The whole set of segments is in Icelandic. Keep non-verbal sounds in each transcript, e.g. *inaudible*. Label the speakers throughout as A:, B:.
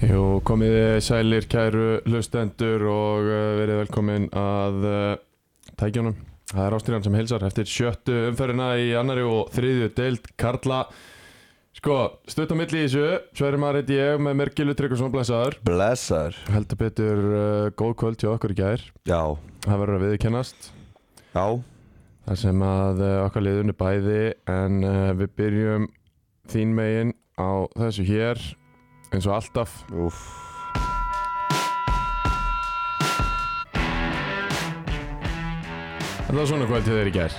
A: Jú, komið þið sælir kæru hlustendur og eh, verið velkomin að eh, tækjunum. Það er Ástriðan sem heilsar eftir sjöttu umferðina í annari og þriðju deild Karla. Sko, stutt á milli í þessu, Sverri Marit ég með mér Gilvi Tryggvason Blesaður.
B: Blessar
A: Heldur betur uh, góð kvöld hjá okkur í gær,
B: Já,
A: það verður að viðkennast.
B: já,
A: Þar sem að uh, okkar liðunni bæði en uh, við byrjum þín megin á þessu hér eins og alltaf
B: úff
A: Það var svona kvöld til þeir í gær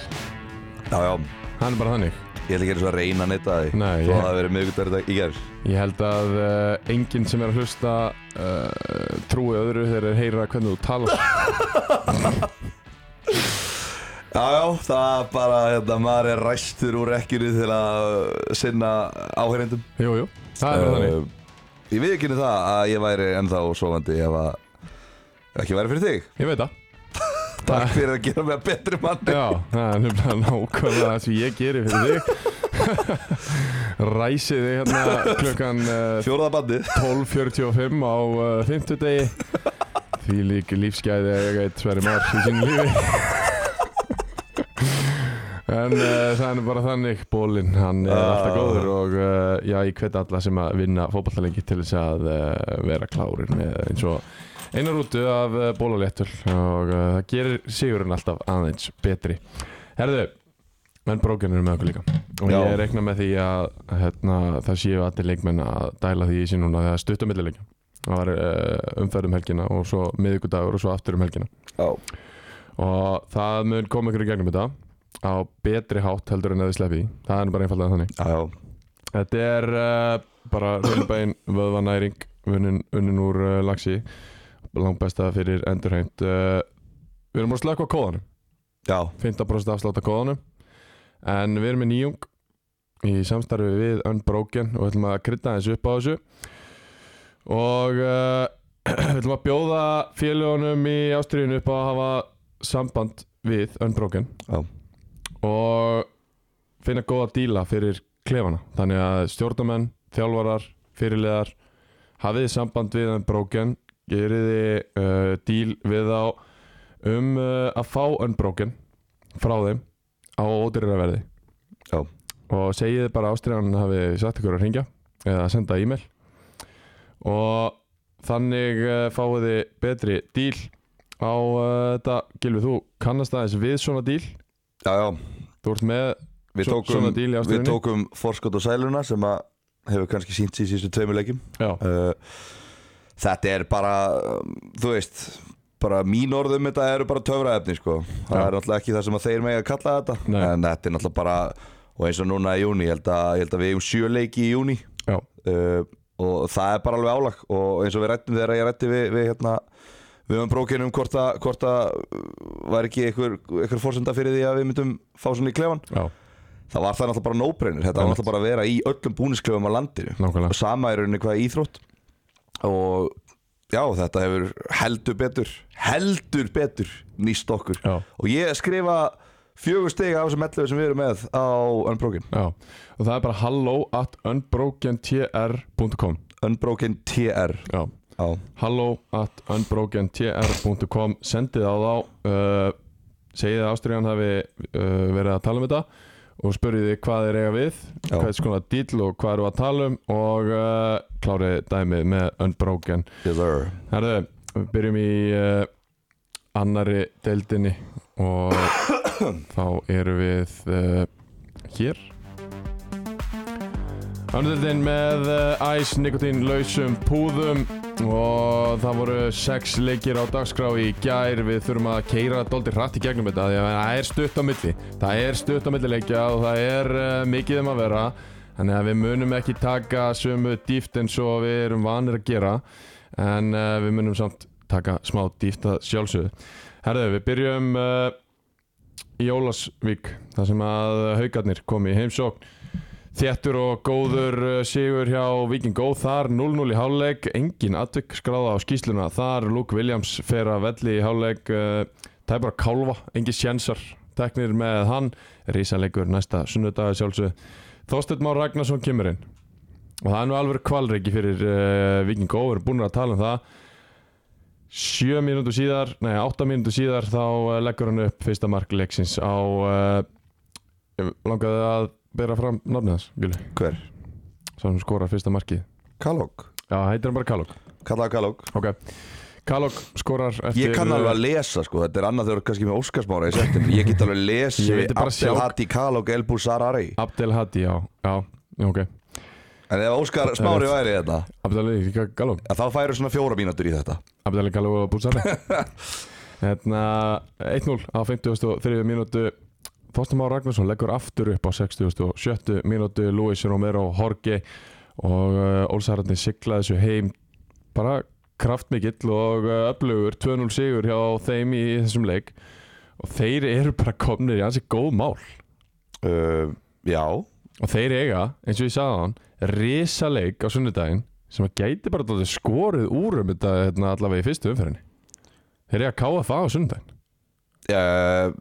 B: Já, já,
A: Hann er bara þannig
B: ég ætla ekki eins og að reyna neitt að því
A: Nei,
B: Svo
A: ég-
B: að það verið miðvikudagur í dag í gerð
A: Ég held að uh, enginn sem er að hlusta uh, trúi öðru þegar þeir heyra hvernig þú talar
B: Já, já, það er bara, hérna, maður er ræstur úr ekkjunni til að sinna áhengindum
A: *laughs* Jú, jú, það er bara þannig
B: Ég við ekki það að ég væri ennþá sofandi ef að ekki væri fyrir
A: *laughs*
B: þig
A: Ég veit það
B: Takk fyrir að gera mig að betri manni
A: Já, það er nefnilega nákvæmlega það sem ég geri fyrir þig *laughs* Ræsi þig hérna klukkan uh,
B: Fjóraða bandi
A: 12.45 á uh, 50 degi Því lík lífsgæði að ég eitt sveri marg í sínu lífi En uh, það er nú bara þannig bólinn, hann er alltaf
B: Já.
A: góður og uh, já, ég hveti alla sem að vinna fótballtalengi til þess að uh, vera klárin með eins og eina rútu af uh, bólaléttul og uh, það gerir sigurinn alltaf aðeins betri. Herðu, menn brókjarnir eru með okkur líka og
B: Já.
A: ég reikna með því að hérna, það séu allir leikmenn að dæla því í sín núna þegar stuttamillilegja. Það var uh, umferð um helgina og svo miðvikudagur og svo aftur um helgina
B: Já,
A: og það mun koma ykkur í gegnum þetta á betri hátt heldur en að þið sleppi í. það er bara einfallega þannig
B: já, já,
A: þetta er uh, bara hlunbein vöðvanæring unnin, unnin úr uh, lagsi langbesta fyrir endurheimt uh, við erum að slökka á kóðanum
B: já,
A: 15% afslátt á kóðanum en við erum með nýjung í samstarfi við Unbroken og við ætlum að krydda þessu upp á þessu og uh, *clears throat* við ætlum að bjóða félagunum í Ástriðinu upp á að hafa samband við Unbroken
B: Já.
A: og finna góða díla fyrir klefana þannig að stjórnamenn, þjálfarar, fyrirliðar hafið þið samband við Unbroken gerið þið uh, díl við þá um uh, að fá Unbroken frá þeim á ódýrara verði
B: Já.
A: og segið þið bara ástriðan hafi sagt ykkur að ringja eða að senda e-mail og þannig uh, fáið þið betri díl á uh, þetta Gilvi, þú kannast aðeins við svona díl
B: já, já.
A: þú ert með
B: Við
A: svo-
B: tókum,
A: svona díl í
B: við
A: ástæðunni
B: tókum forskot og sæluna sem að hefur kannski sínt sér í síðustu tveimur leikjum
A: já,
B: uh, Þetta er bara, um, þú veist, bara mín orðum þetta eru bara töfraefni sko Það
A: Já.
B: er náttúrulega ekki það sem að þeir megi að kalla þetta
A: Nei.
B: En þetta er náttúrulega bara, og eins og núna í júni, ég held að, ég held að við eigum sjö leiki í júni
A: já,
B: uh, Og það er bara alveg álag og eins og við rættum þegar ég rætti við, við hérna Við höfum brókin um hvort að, hvort að uh, var ekki einhver, einhver fórsenda fyrir því að við myndum fá svona í klefan
A: já,
B: það var það náttúrulega bara nóbreynir þetta var
A: Einmitt.
B: náttúrulega bara að vera í öllum búnisklöfum á landinu
A: nákvæmlega
B: og sama er rauninni hvað íþrótt og já þetta hefur heldur betur heldur betur nýst okkur
A: já,
B: og ég skrifa fjögur stegi af þessum 11 sem við erum með á Unbroken
A: já, og það er bara hello at unbrokentr.com
B: Unbroken TR
A: já,
B: já,
A: hello at unbrokentr.com sendið á þá uh, segið að ástriðan hafi uh, verið að tala um þetta og spurðið þið hvað þeir eiga við
B: Já.
A: hvað er skona dýll og hvað eru að tala um og uh, klárið dæmið með Unbroken
B: yes sir
A: Herðu, við byrjum í uh, annari deildinni og *coughs* þá erum við uh, hér Annari deildin með uh, æs, nikotín, lausum, púðum og það voru sex leikir á dagskrá í gær við þurfum að keira dóldi hratt í gegnum þetta því að það er stutt á milli það er stutt á milli leikja og það er uh, mikið um að vera þannig að við munum ekki taka sömu dýft eins og við erum vanir að gera eh, en uh, við munum samt taka smá dýft að sjálfsögðu. Herðu, við byrjum uh, í Ólasvík þar sem að haugarnir kom í heimsókn Þéttur og góður eh, sigur hjá Viking Go þar 0-0 í hálfleik, engin atvik skráða á skýsluna þar, Luke Williams fer að velli í hálfleik eh, tæpar að kálfa, engi sjensar teknir með hann, rísanleikur næsta sunnudaga sjálfsög Þorsteinn Már Ragnarsson kemur inn og það er nú alveg kvalreiki fyrir uh, Viking Go, við erum búin að tala um það sjö mínútu síðar, nei átta mínútu síðar þá eh, leggur hann upp fyrsta mark leiksins á uh, langaði að bera fram nafnið hans, Gulli,
B: Hver?
A: svo hann skorar fyrsta markið
B: Kalók
A: Já, heitir hann bara Kalok
B: Kallaði Kalók
A: Ok, Kalok skorar eftir eh,
B: Ég kann alveg að lesa sko Þetta er annað þegar þú ert kannski með Óskarsmára í setjum Ég get alveg að
A: Ég
B: lesa
A: veit bara sjá-
B: Abdelhati Kalók Elbú Sarari
A: Abdel Hadi, já, já, ok
B: En ef Óskar Smári væri hérna, þetta
A: Abdel Hadi, Kalok
B: að Þá færu svona fjóra mínútur í þetta
A: Abdel Hadi, Kalok og Búsari Hérna, 1-0 á 53 mínútu Þorsten Már Ragnarsson leggur aftur upp á 67 mínútu Luis Romero Horge og uh, Ólsararni sigla þessu heim bara kraftmikill og uh, öflugur 2-0 sigur hjá þeim í þessum leik og þeir eru bara komnir í hansi góð mál
B: uh, Já
A: Og þeir eiga, eins og ég sagði hann, risaleik á sunnudaginn sem að gæti bara dálítið skorið úr um þetta hérna, allavega í fyrstu umferðinni. Þeir eiga KFA á sunnudaginn.
B: uh,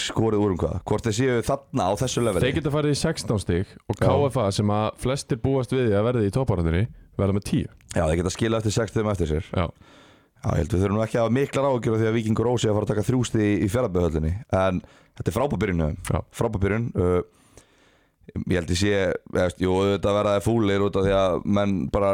B: Skorið úr um hvað Hvort þeir séu þarna á þessu leveli
A: Þeir geta farið í 16 stík og
B: Já.
A: KFA sem að flestir búast við því að verði í topparöndinni verða með 10.
B: Já þeir geta skila eftir 60 eftir sér
A: Já.
B: Já, ég held við þurfum nú ekki að hafa miklar ágjörð því að Víkingur Ósi að fara að taka þrjústi í fjallaböðhöllinni en þetta er frábabyrjun
A: Já.
B: frábabyrjun uh, ég held ég sé, eftir, jú, þetta verða þeir fúlir út af því að menn bara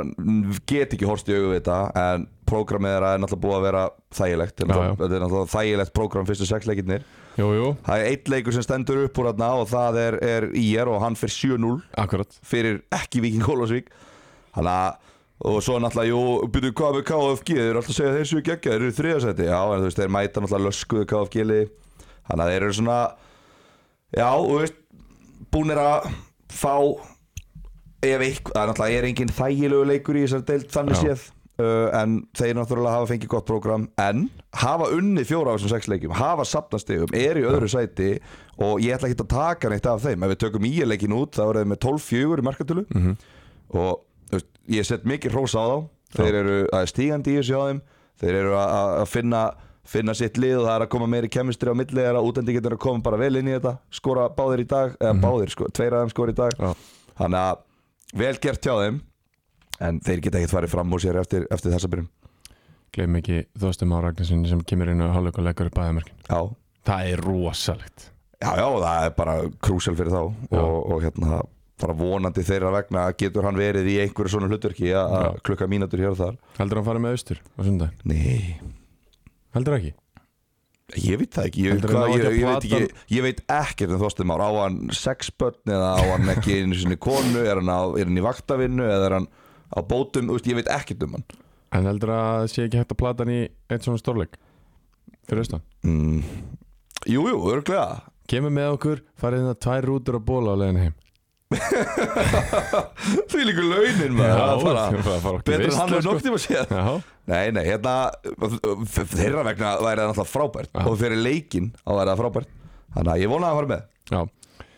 B: get ekki horst í augu við þetta en prógramið þeirra er náttúrulega búið að vera þægilegt, Þetta er
A: Já,
B: náttúrulega- þetta er náttúrulega þægilegt prógram fyrstu sex leikirnir
A: Jú, jú,
B: það er eitt leikur sem stendur upp úr þarna og það er, er IR og hann fyrir 7-0
A: akkurat.
B: fyrir ekki Viking Ólafsvík þannig að og svo náttúrulega, jú, byrju hvað með KFG þeir eru alltaf að segja að þeir séu geggja, þeir eru í þriðasæti já, en þú veist, þeir mæta náttúrulega löskuðu KFG liði þannig að þeir eru svona já, þú veist búnir að fá ef eitthvað, það er náttúrulega er engin þægilegu leikur í þessar deild þannig
A: Já.
B: séð uh, en þeir náttúrulega hafa fengið gott prógram en hafa unni fjóra af þessum sex leikjum hafa sapnastegum, er í öðru sæti og ég ætla ekki að taka neitt af þeim ef við tökum íja leikin út, þá eru þeir með 12-4 í markatölu og þú veist, ég set mikið hrósa á þá þeir eru það er stígandi í þessu á þeim þeir eru að- að að finna, finna sitt lið og það er að koma meiri kemistri á milli þeirra útendingarnir eru að koma bara vel inn í þetta skora báðir í dag, eða báðir, sko, tveir af þeim skora í dag
A: Já.
B: þannig að vel gert hjá þeim en þeir geta ekkert farið fram úr sér eftir, eftir þessa byrjun
A: Gleim ekki þóstum á Ragnarssoni sem kemur inn á hálfleik og leggur upp aðeimörkin.
B: já.
A: Það er rosalegt.
B: já, já, það er bara krúsel fyrir þá
A: Já.
B: og, og hérna bara vonandi þeirra vegna getur hann verið í einhverju svona hlutverki að að klukka mínútur hér og þar
A: Heldur hann farið með austur á sunnudaginn?
B: Nei,
A: Heldur ekki?
B: Ég veit það ekki, ég,
A: Heldur
B: hvað,
A: hann á
B: ég,
A: ekki að
B: ég, veit
A: plata-
B: ekki ég veit ekkert um Þorstein Már, á hann sex börn eða á hann ekki einu sinni konu er hann, á, er hann í vaktavinnu eða er hann á bótum, úst, ég veit ekkert um hann
A: En heldur að sé ekki hægt að plata hann í eitt svona stórleik fyrir austan?
B: mm. Jú, jú, örglega
A: Kemur með okkur, farið hérna tvær rútur að bóla á leiðin heim
B: Því líka launin maður það er bara,
A: það fara okkur
B: Betur en hann
A: veisla,
B: er
A: sko.
B: nokt tíma séð
A: Já,
B: Nei, nei, hérna þeirra vegna væri það náttúrulega frábært
A: Já.
B: og fyrir leikinn á væri það frábært Þannig að ég vona að hann fara með
A: já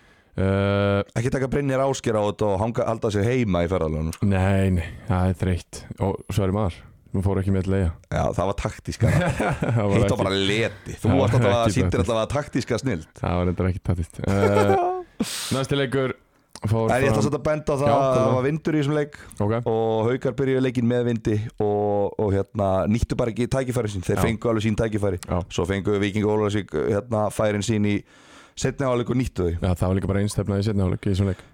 A: uh,
B: Ekki taka Brynjar Ásker á þetta og hanga, halda sér heima í ferðalunum
A: Nei, nei, það er þreytt Og svo er maður, nú fór ekki með
B: *laughs*
A: leiða
B: Já, það var taktískara
A: Það var
B: Hitt var
A: ekki,
B: bara leti Þú
A: Já,
B: varst alltaf að
A: ekki
B: sýttir
A: taktískt.
B: alltaf að taktíska snild
A: það var endur ekki tattist
B: *laughs*
A: uh, Næsti leikur fór
B: En ég ætla að setja benda á það
A: Já,
B: að
A: kom
B: það
A: það.
B: var vindur í þessum leik
A: Ok,
B: og haukar byrjuðu leikin með vindi og, og hérna, nýttu bara ekki tækifæri sín þeir
A: Já.
B: fengu alveg sín tækifæri
A: Já.
B: svo fengu Viking og Ólarsvík hérna, færin sín í setni áleik og nýttu þau
A: já, það var líka bara einstefnaði setna áleik í þessum leik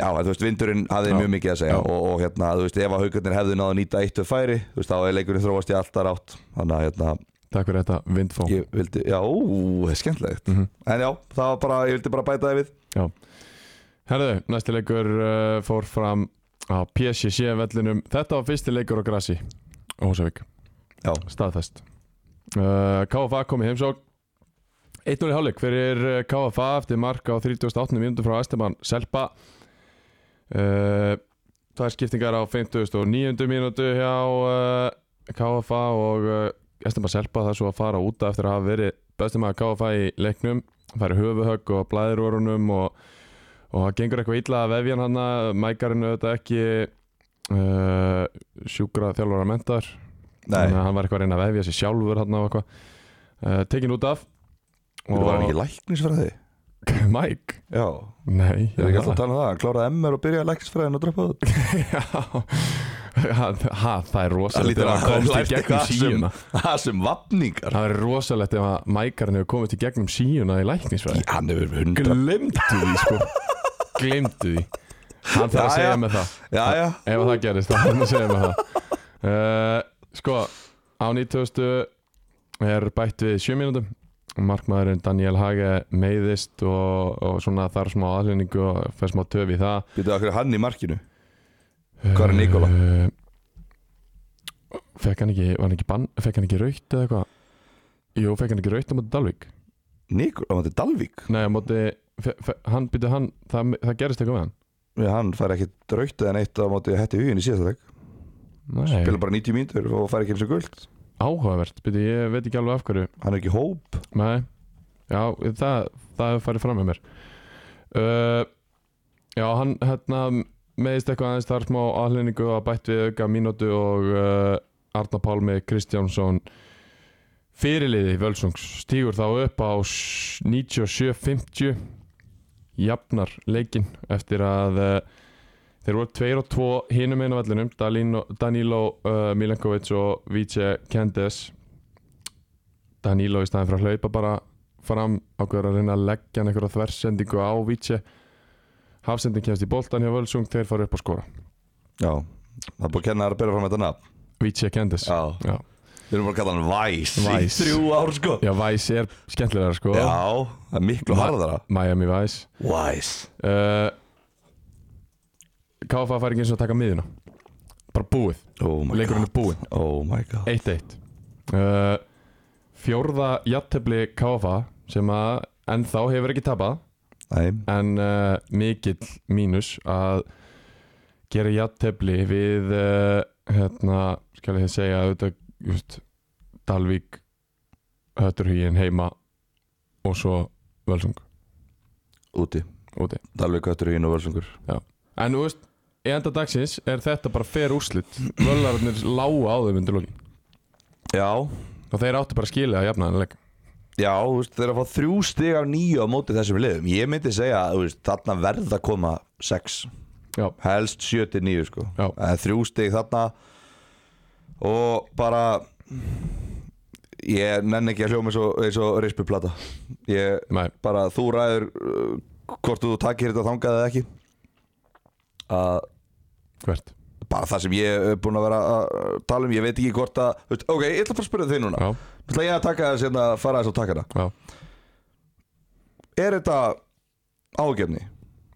B: Já, en þú veist, vindurinn hafði
A: Já.
B: mjög mikið að segja
A: Já.
B: og, og hérna, þú veist, ef að haukarnir hefðu náðu að nýta eitt og færi, þú veist, þá hefði leikurinn þróast í alltaf rátt þannig að hérna,
A: Takk fyrir þetta, Vindfó
B: ég vildi, já, ú, það er skemmtilegt
A: Mhm.
B: en já, það var bara, ég vildi bara bæta það við
A: Herðu, næsti leikur uh, fór fram á PSC vellinum Þetta var fyrsti leikur á grasi á Húsavík
B: Já.
A: Staðfest uh, KFA kom í heimsókn 1-0 í hálfleik fyrir uh, KFA eftir mark á 38. mínútu frá Esteban Selpa uh, eh, Það er skiptingar á 59. mínútu hjá uh, KFA og uh, Estem að selpa það svo að fara út eftir að hafa verið bestum að KFA í leiknum færi höfuhögg og blæðirórunum og, og það gengur eitthvað illa að vefjan hann mækarinn auðvitað ekki uh, sjúkra þjálfara mentar
B: Nei,
A: að hann var eitthvað að reyna að vefja sér sjálfur hann og eitthvað uh, tekin út af
B: þú var hann ekki læknisfræði
A: *laughs* Mike?
B: Já,
A: Nei
B: ég er
A: *laughs*
B: ekki alltaf að tala um það Hann kláraði MR og byrjaði læknisfræðin og droppaði út
A: Já, ha, ha, það er
B: Það
A: rosalegt ef
B: lítur að
A: hann
B: hafa
A: komst í
B: lært
A: gegnum
B: eitthvað sem-
A: síuna
B: Það sem vapningar
A: Það er rosalegt ef að mækarinn hefur komist í gegnum síuna í læknisfræði
B: Hann hefur hundra
A: Glemdu því
B: *laughs*
A: sko Glemdu því Hann þarf að
B: Jæja.
A: segja með það
B: Já, já,
A: Ef að það gerist, þá þarf hann að segja með það uh, Sko, á 90. er bætt við 7 mínútum Markmaðurinn Daniel Hage meiðist og, og svona þarf smá aðlýningu og fer smá töf í það
B: býtu okkur hann í markinu Hvar er Nikola?
A: Uh, fekk hann ekki, var hann ekki bann, fekk hann ekki raut eða eitthvað? Jú, fekk hann ekki raut á móti Dalvík?
B: Nikola, hann er Dalvík
A: Nei, á móti, fe, fe, hann byrju hann, það, það gerist eitthvað með hann.
B: Já, Hann fær ekki draugt eða neitt á móti hætti hugin í síðasta leik Spila
A: Nei,
B: bara 90 mínútur og fær ekki eins og guld
A: áhugavert, byrju, ég veit ekki alveg af hverju.
B: Hann er ekki í hóp
A: Nei, já, það, það hefur farið fram með mér. Uh, já, hann hérna meðist eitthvað aðeins þar smá aðlendingu að bætt við auka mínútu og uh, Arna Pálmi Kristjánsson fyrirliði Völsungs stígur þá upp á s- 97.50 jafnar leikinn eftir að uh, þeir voru 2 og 2 hinum einu vellinum Danilo, Danilo uh, Milenkovic og Vice Kendes Danilo í staðin fyrir að hlaupa bara fram ákveður að reyna að leggja hann einhverja þversendingu á Vice Hafsending kemst í boltan hjá Völsung þeir fara upp að skora
B: Já, það er búið að kenna þær að byrja fram þetta nafn
A: Vice Kendis
B: Já,
A: Já.
B: við erum bara að kalla hann Væs
A: Væs.
B: Í þrjú ár sko
A: Já, Vice er skemmtilegar sko
B: Já, það er miklu
A: Ma-
B: harðara
A: Miami Vice
B: Væs
A: uh, KFA fær ekki eins og að taka miðina bara búið,
B: Oh my
A: leikurinn
B: god
A: er búið
B: Oh my god
A: 1-1 uh, Fjórða jattefli KFA sem að ennþá hefur ekki tapað
B: Nei,
A: en uh, mikill mínus að gera jattefli við uh, hérna, skal ég segja auðvitað, just, Dalvík Hötturhugin heima og svo Völsung
B: úti
A: úti
B: Dalvík Köttur Hín og Völsungur
A: en þú veist, í enda dagsins er þetta bara fer úrslit völarnir lága á þeim undir lókin
B: Já,
A: og þeir áttu bara að skilja að jafna þannleik
B: já, þú veist, þeir eru að fá þrjú stig af nýju á móti þessum liðum Ég myndi segja að þú veist, þarna verða að koma sex
A: já,
B: Helst sjö til nýju sko
A: Já.
B: En Þrjú stig þarna Og bara Ég nenni ekki að hljóma eins og, eins og rispuplata Ég
A: nei,
B: bara þú ræður uh, hvort þú takir þetta þangað eða ekki að
A: hvert
B: bara það sem ég er búin að vera að uh, tala um ég veit ekki hvort að, þú veist, ok, ég ætla bara að spyrja þig núna
A: já,
B: Nú ætla ég að taka þess hérna, fara þess og taka
A: já,
B: þetta er þetta ágefni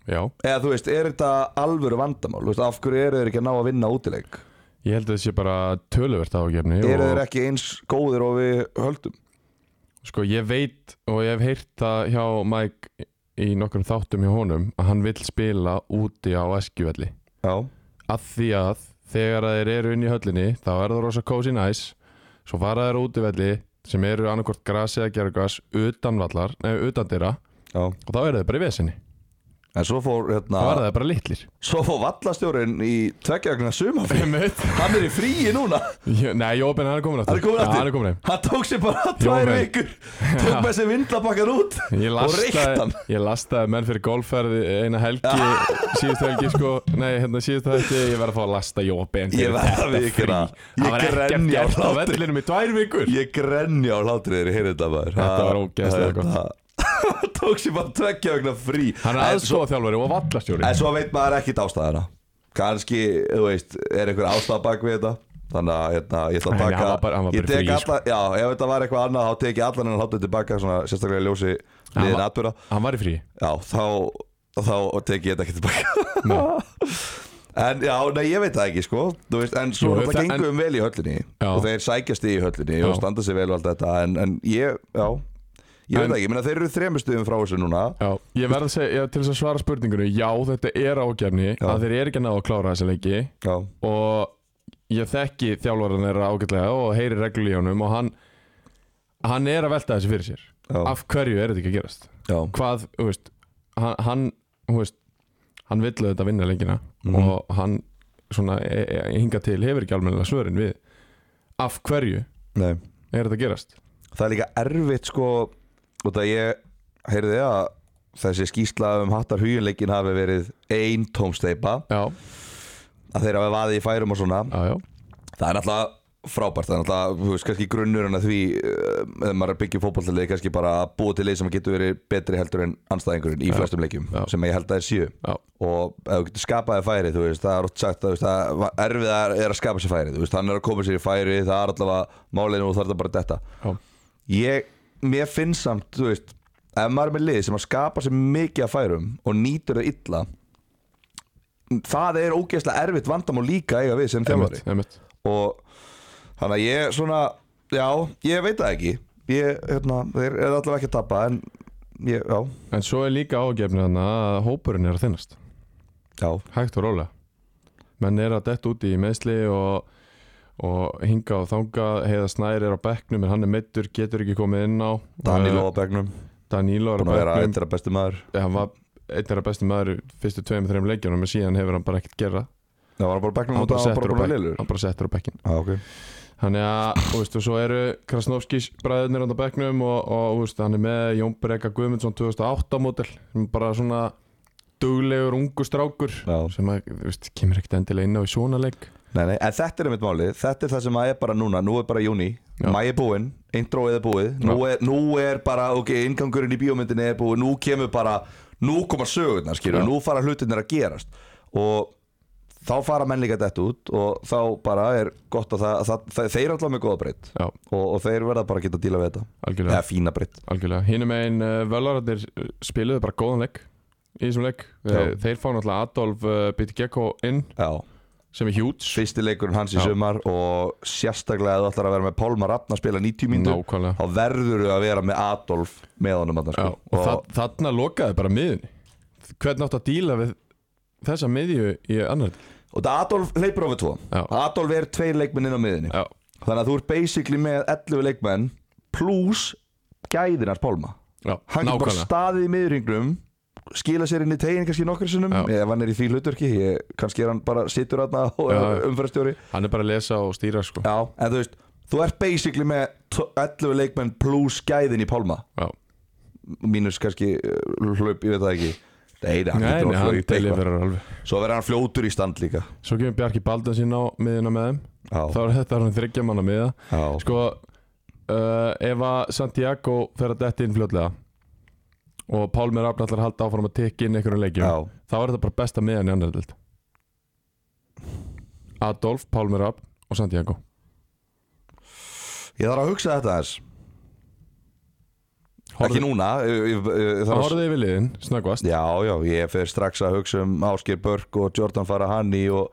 A: já
B: eða þú veist, er þetta alvöru vandamál Þú veist, af hverju eru þeir ekki að ná að vinna útileik
A: ég held að þetta sé bara töluvert ágefni
B: eru þeir ekki eins góðir og við höldum
A: Sko ég veit og ég hef heyrt það hjá Mike í nokkrum þáttum hjá honum að hann vill spila úti á eskjuvelli
B: já,
A: að því að þegar að þeir eru inn í höllinni þá er það rosa cozy nice svo fara þeir á útivelli sem eru annarkvort grasi eða gergras utan vallar, nei utan dyra
B: já
A: og þá eru þeir bara í vesinni,
B: en svo
A: þá
B: fór,
A: eru
B: hérna,
A: þeir bara litlir
B: svo fór vallastjórin í tveggjagna sumafri
A: Einmitt.
B: hann er í fríi núna
A: *laughs* Ég- Nei, Jópen, hann er komin aftur
B: Hann er kominn
A: Já,
B: aftur?
A: hann er komin heim.
B: Hann tók sér bara
A: Jó,
B: tvær
A: menn.
B: vikur Tók með sér vindlabakkar út
A: Ég
B: Og reykt
A: lastaði,
B: hann
A: ég lastaði menn fyrir golfferði eina helgi síðustu helgi sko Nei, hérna síðustu helgi Ég verði að fá að lasta Jópen
B: Ég verð að viðurkenna, ég
A: Það var ekkert
B: grenja á
A: gert á
B: hlátri.
A: vellinum í tvær vikur
B: Ég grenja á hlátrið þeirri heyrðu þetta maður
A: Þetta var
B: Ha-
A: ógeðslega
B: þetta- *laughs* Tók sér bara tveggja vegna frí
A: Hann er
B: En svo-
A: aðstofa þjálfari og vallastjóri
B: En svo veit maður ekkit ástæðana Kanski, þú veist, er einhver ástæða bak við þetta Þannig að hérna, ég ætla að
A: Nei, nei,
B: taka
A: hann var bara- hann var bara
B: Ég
A: í
B: tek
A: fríi, sko.
B: alla, já, ef þetta var eitthvað annað þá tek ég allan en hlátrið tilbaka svona sérstaklega í ljósi
A: Hann
B: liðin
A: var-
B: atbyrða
A: Hann var í frí
B: Já, þá, þá tek ég þetta ekki tilbaka *laughs* En já, nei, ég veit það ekki sko Þú veist, En svo
A: Jú,
B: náttúrulega
A: það-
B: gengum við vel í höllinni
A: Já.
B: Og þeir sækjast í höllinni
A: Já.
B: og standa sig vel og allt þetta En, en ég, já Ég veit
A: En-
B: það ekki, ég meina þeir eru þremur stuðum frá þessu núna
A: Já, ég verð að segja, já, til þess að svara spurningunni Já, þetta er ágefni
B: Já.
A: að þeir eru ekki að ná að klára þessa leiki
B: Já,
A: og ég þekki þjálfarinn þeirra ágætlega og heyri reglur í honum og hann hann er að velta þessu fyrir sér
B: Já.
A: af hverju er þetta ekki að gerast
B: Já.
A: hvað, þú veist hann, hann, þú veist, hann villu þetta vinna leikina
B: Mhm.
A: og hann svona e e hinga til hefur ekki almennilega svörin við af hverju
B: Nei.
A: er þetta að gerast
B: það er líka erfitt sko út að ég heyrði að þessi skýsla um hattar huginleikin hafi verið ein tómsteipa
A: já,
B: að þeir hafi vaðið í færum og svona
A: já, já,
B: það er náttúrulega frábært það er náttúrulega, þú veist, kannski grunnur en að því eh, ef maður er byggjum fótballtalið kannski bara að búa til leið sem getur verið betri heldur en anstæðingurinn í flestum leikjum
A: Já.
B: sem ég held að er sjö
A: já,
B: og ef þú getur skapaði færi þú veist, það er oft sagt að þú veist, það er- erfiðar er að skapa sér færi, þú veist, hann er að koma sér í færi það er allavega málinu og þarf það bara þetta
A: já,
B: ég, mér finnst samt þú veist, ef maður er með lið sem að skapa sér mikið að færum og nýtur það illa það er ógeðslega erfitt vandamál líka að eiga við sem þjálfari
A: einmitt, einmitt.
B: og þannig að ég svona já, ég veit það ekki ég, hérna, þeir eru allavega ekki að tappa en ég, já,
A: en svo er líka ágefni þannig að hópurinn er að þinnast
B: já,
A: hægt og rólega menn er að detta úti í meðsli og, og hinga og þanga heiða snær er á bekknum en hann er meittur, getur ekki komið inn á
B: Danilo á begnum
A: Eh, Danilo er
B: búin
A: á
B: að vera
A: bekknum
B: eitthvað besti maður
A: Eh, hann var einn af bestu maður fyrstu tveim, þreim leikjunum en síðan hefur hann bara ekkert gera
B: það var hann bara á begnum
A: hann
B: og það var
A: settur
B: bara
A: á
B: búin að
A: bekk-
B: liður
A: hann bara settur á bekkin
B: já, ok,
A: þannig að, þú veist, og svo eru Krasnovskis bræðurnir hérna á bekknum og, og þú veist, hann er með Jón Breka Guðmundsson 2008 mótel, bara svona duglegur ungu strákur
B: já
A: sem að, þú veist, kemur ekkert endilega inn á í svona leik
B: Nei, nei, en þetta er einmitt málið, þetta er það sem að er bara núna, nú er bara júni,
A: Já.
B: mæ er búinn, introið er búið, nú er, nú er bara, ok, ingangurinn í bíómyndinni er búið, nú kemur bara, nú koma sögurnar, skilur,
A: Já.
B: nú fara hlutinir að gerast og þá fara menn líka þetta út og þá bara er gott að það, það, það þeir er alltaf með góða breytt
A: já,
B: og, og þeir verða bara að geta að díla við þetta,
A: algjörlega,
B: eða fína breytt,
A: algjörlega. hinum einn uh, völararnir eh, spiluðu bara góðan leik í þessum leik, uh,
B: Já.
A: þeir fá náttúrulega Adolf uh, Bitgekko inn,
B: já,
A: sem er huge
B: fyrsti leikurinn hans í
A: Já.
B: sumar og sérstaklega að þú ætlar að vera með Pálma Rappn að spila 90 mínútur,
A: nákvæmlega
B: þá verður þau að vera með Adolf með honum þarna,
A: Já,
B: sko.
A: og það, þarna lokaði bara miðunni Hvernig áttu að díla við þessa miðju í annar
B: Og það Adolf hleypur ofið tvo
A: Já.
B: Adolf er tveir leikmenn inn á miðinni
A: Já,
B: Þannig að þú ert basically með 11 leikmenn Plus gæðinars Pálma
A: já
B: Hann getur bara
A: nákvæmlega
B: staðið í miðringnum Skila sér inn í tegin kannski nokkur sinnum
A: Já.
B: Ef hann er í því hluturki ég, Kannski er hann bara sittur aðna og
A: Já,
B: er
A: já.
B: umfærastjóri
A: Hann er bara að lesa og stýra sko
B: Já, en þú veist Þú ert basically með t- 11 leikmenn plus gæðin í Pálma
A: Já,
B: Mínus kannski uh, hlaup, ég veit það ekki Nei, nei, hann
A: nei,
B: getur
A: nei,
B: að
A: hann
B: hlaupa
A: dælið
B: eitthvað.
A: verður alveg
B: Svo verður hann fljótur í stand líka
A: Svo kemur Bjarki Baldan sín á miðuna með þeim Þá
B: Já,
A: er þetta hann þryggja manna miða
B: já,
A: Sko, uh, ef að Santiago fer að detti inn fljótlega og Pálmi Rafn ætlar að halda áfram að tekja inn einhverjum leikjum
B: já
A: þá er þetta bara besta miðan í annar dild Adolf, Pálmi Rafn og Santiago
B: Ég þarf að hugsa þetta aðeins Ekki núna eh, ég, ég, ég,
A: Það
B: þarf að,
A: horfði yfir liðin, snöggvast
B: Já, já, ég fer strax að hugsa um Áskir Börk og Jordan Farahani og,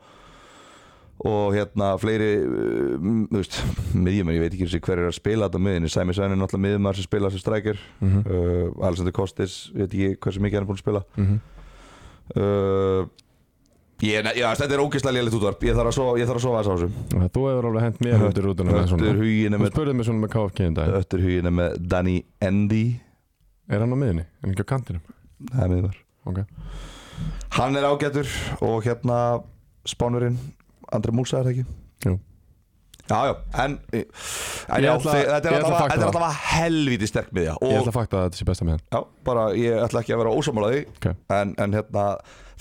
B: og hérna fleiri uh, m- þú veist, miðjumenn, ég veit ekki einu sinni hver er að spila þetta á miðinni, Sæmi Svein er náttúrulega miðjumar sem spila sem strækir,
A: mm -hmm.
B: uh, Alexander Kostis ég veit ekki hversu mikið hann er búin að spila
A: Mm
B: uh, ég, ne- já, þetta er ógeðslega lélegt útvarp ég þarf að sofa, ég þarf að sofa þess á þessu
A: Þú hefur alveg hent mér út í rútuna með svona
B: Öttur huginu
A: Þú
B: með,
A: spurði mig svona með KFK um dag
B: öttur huginu með Danny Endy
A: Er hann á miðinni? En ekki á kantinum?
B: það er miðjumar
A: Ok
B: Hann er ágætur og hérna spánurinn Andri Músa er það ekki
A: Jú.
B: Já, já, en, en
A: Ég
B: já,
A: ætla-
B: þe- þetta er
A: ég ætla
B: alltaf-
A: að fagna
B: þetta er
A: það.
B: alltaf helvítið sterk miðja
A: Ég ætla
B: og
A: að fakta að þetta sé besta miðan
B: já, bara, ég ætla ekki að vera ósamálaði
A: Ok.
B: en, en hérna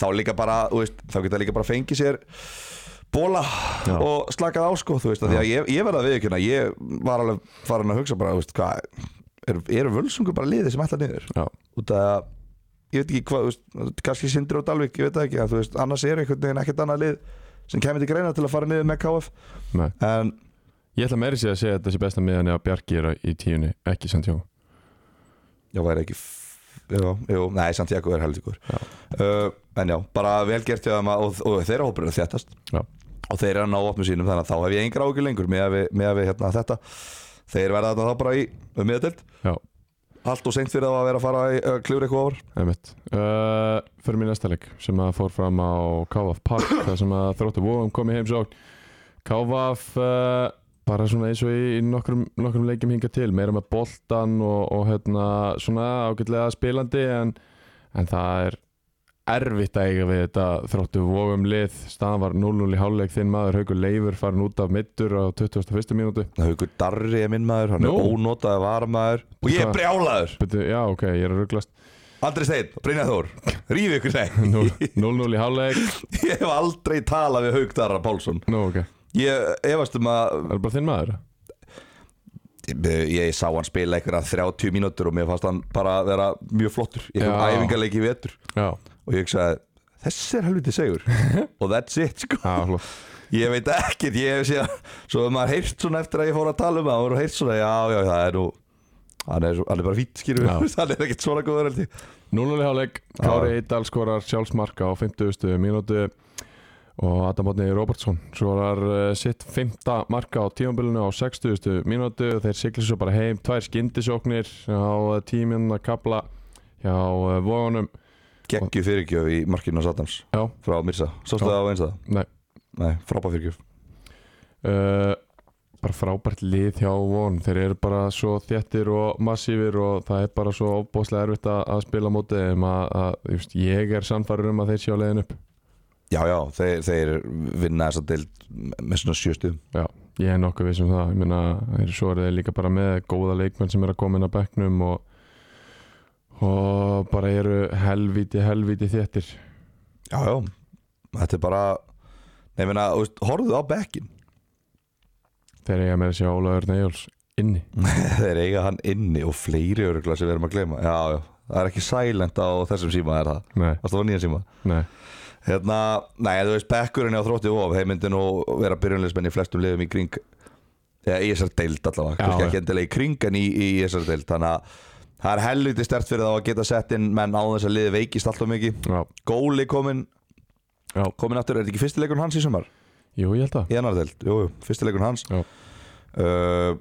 B: þá líka bara, þú veist, þá geta líka bara fengið sér bóla
A: Já.
B: og slakað á sko, þú veist, af því að ég, ég verða við ekki ég var alveg farin að hugsa bara, þú veist, hvað eru er völsungur bara liðið sem ætla niður
A: Já,
B: út að ég veit ekki hvað, þú veist, kannski Sindri og Dalvik, ég veit það ekki, en þú veist, annars er einhvern veginn ekkert annað lið sem kemur til greina til að fara niður með KF
A: nei
B: en
A: Ég ætla meiri sér að segja að þetta sé besta miðan eða Bjarki er á- í tíunni, ekki Santiago
B: já, væri ekki f- jú, jú, nei, Santiago er heldur
A: Já.
B: uh, en já, bara vel gert hjá þeim að- og, og þeirra hópur er að þéttast
A: Já.
B: og þeir eru að ná opnum sínum þannig að þá hef ég engra ágjur lengur með að við, með að við hérna, þetta þeir verða þarna þá bara í um miðdelt
A: Já,
B: allt og seint fyrir þá að vera að fara í uh, kljúri eitthvað ofar
A: einmitt uh, *coughs* Fyrir mér næsta leik sem að fór fram á KF Park þar sem að þróttu vóðum komið heimsókn Kávaf uh, bara svona eins og í, í nokkrum, nokkrum leikjum hinga til, meira með boltan og, og hérna svona ágætlega spilandi en, en það er erfitt að eiga við þetta þróttu vofum lið, staðan var 0-0 í hálfleik þinn maður Haukur Leifur farin út af middur á 21. mínútu
B: Haukur Darri er minn maður, hann
A: Nú.
B: er ónotaði varamaður Og ég er
A: Hvað?
B: brjálaður
A: Byrju, já ok, ég er að rugglast
B: Andri Steinn, Brynja Þór, rífi ykkur þeim
A: *laughs* 0-0 í hálfleik,
B: Ég hef aldrei talað við Hauk Darra Pálsson
A: nú ok er
B: Ég efast um að
A: það bara þinn maður?
B: ég, ég sá hann spila einhverja 30 mínútur og mér fannst hann bara vera mjög flottur Ég hef
A: Já.
B: æfingarleiki í vetur
A: Já,
B: og ég hugsaði þessi er helviti
A: *laughs*
B: segur og that's it sko
A: já, flott
B: ég veit ekkert, ég hef séð svo ef maður heyrst svona eftir að ég fór að tala um það og heyrst svona, já, já, það er nú hann er, svo- hann er bara fýtt, skýrur
A: Já.
B: við *laughs* hann er ekkert svona góður held ég
A: 0-0 í hálfleik, Kári Eidal skorar sjálfsmarka á 50. mínútu og Adam Botni Robertsson skorar uh, sitt 5. marka á tímabilinu á 60. mínútu þeir siglir svo bara heim, tvær skyndisóknir á tíminna kapla hjá uh, Vóðunum
B: geggju fyrirgjöf í markinu á Satans
A: Já,
B: frá Mirsa, sástu
A: Já.
B: það á eins það
A: nei
B: nei, frábæð fyrirgjöf
A: uh, bara frábært lið hjá Vóðunum þeir eru bara svo þéttir og massífir og það er bara svo ofbóðslega erfitt að, að spila á móti þeim að, að þú veist, ég er samfæður um að þeir sjá leiðin upp
B: já, já, þeir, þeir vinna þess að deild með svona sjöstum
A: Já, ég er nokkuð viss um það ég meina, þeir eru svo eru þeir líka bara með góða leikmenn sem eru að koma inn á bekknum og, og bara eru helvíti, helvíti þéttir
B: já, já, þetta er bara nei, minna, horfðu á *laughs* bekkin
A: þegar ég er með að sjá Ólaður Neyjóls inni
B: Þeir eiga hann inni og fleiri örugla sem við erum að gleyma Já, já, það er ekki silent á þessum síma er það
A: Nei,
B: Það var nýjan síma
A: nei,
B: Hérna, nei, þú veist, bekkurinn á þrótti og þeir myndi nú vera byrjunleismenn í flestum liðum í kring eða í þessar deild allavega,
A: Já,
B: kannski
A: já.
B: ekki endilega í kring en í, í þessar deild, þannig að það er helviti stert fyrir þá að geta sett inn menn á þess að liði veikist alltaf mikið
A: já,
B: Góli komin,
A: já,
B: komin aftur, er þetta ekki fyrsti leikurinn hans í sumar?
A: jú, ég held að
B: Í annar deild, jú, jú, fyrsti leikurinn hans
A: Já.
B: uh,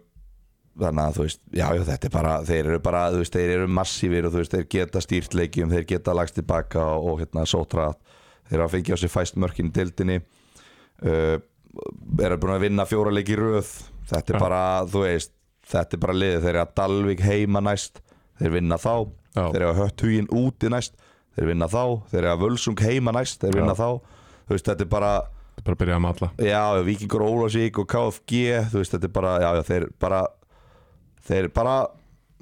B: þannig að þú veist já, já, þetta er bara, þeir eru bara þú veist, þeir eru massífir og þú veist, þeir geta stýrt leikjum þeir geta lagst tilbaka og, og hérna sótra þeir eru að fengja á sig fæst mörkin í deildinni uh, eru búin að vinna fjóra leiki í röð þetta er
A: Já.
B: bara, þú veist þetta er bara liðið, þeir eru að Dalvik heima næst þeir vinna þá,
A: Já.
B: þeir eru að hött hugin úti næst þeir vinna þá, þeir eru að völsung heima næst þeir vinna
A: Já.
B: þá, þú veist, þetta er bara
A: Þetta er bara að byrja að matla
B: Já, já, Víkingur Ólafsvík og KFG þú veist, þetta er bara, já, já, þeir bara þeir bara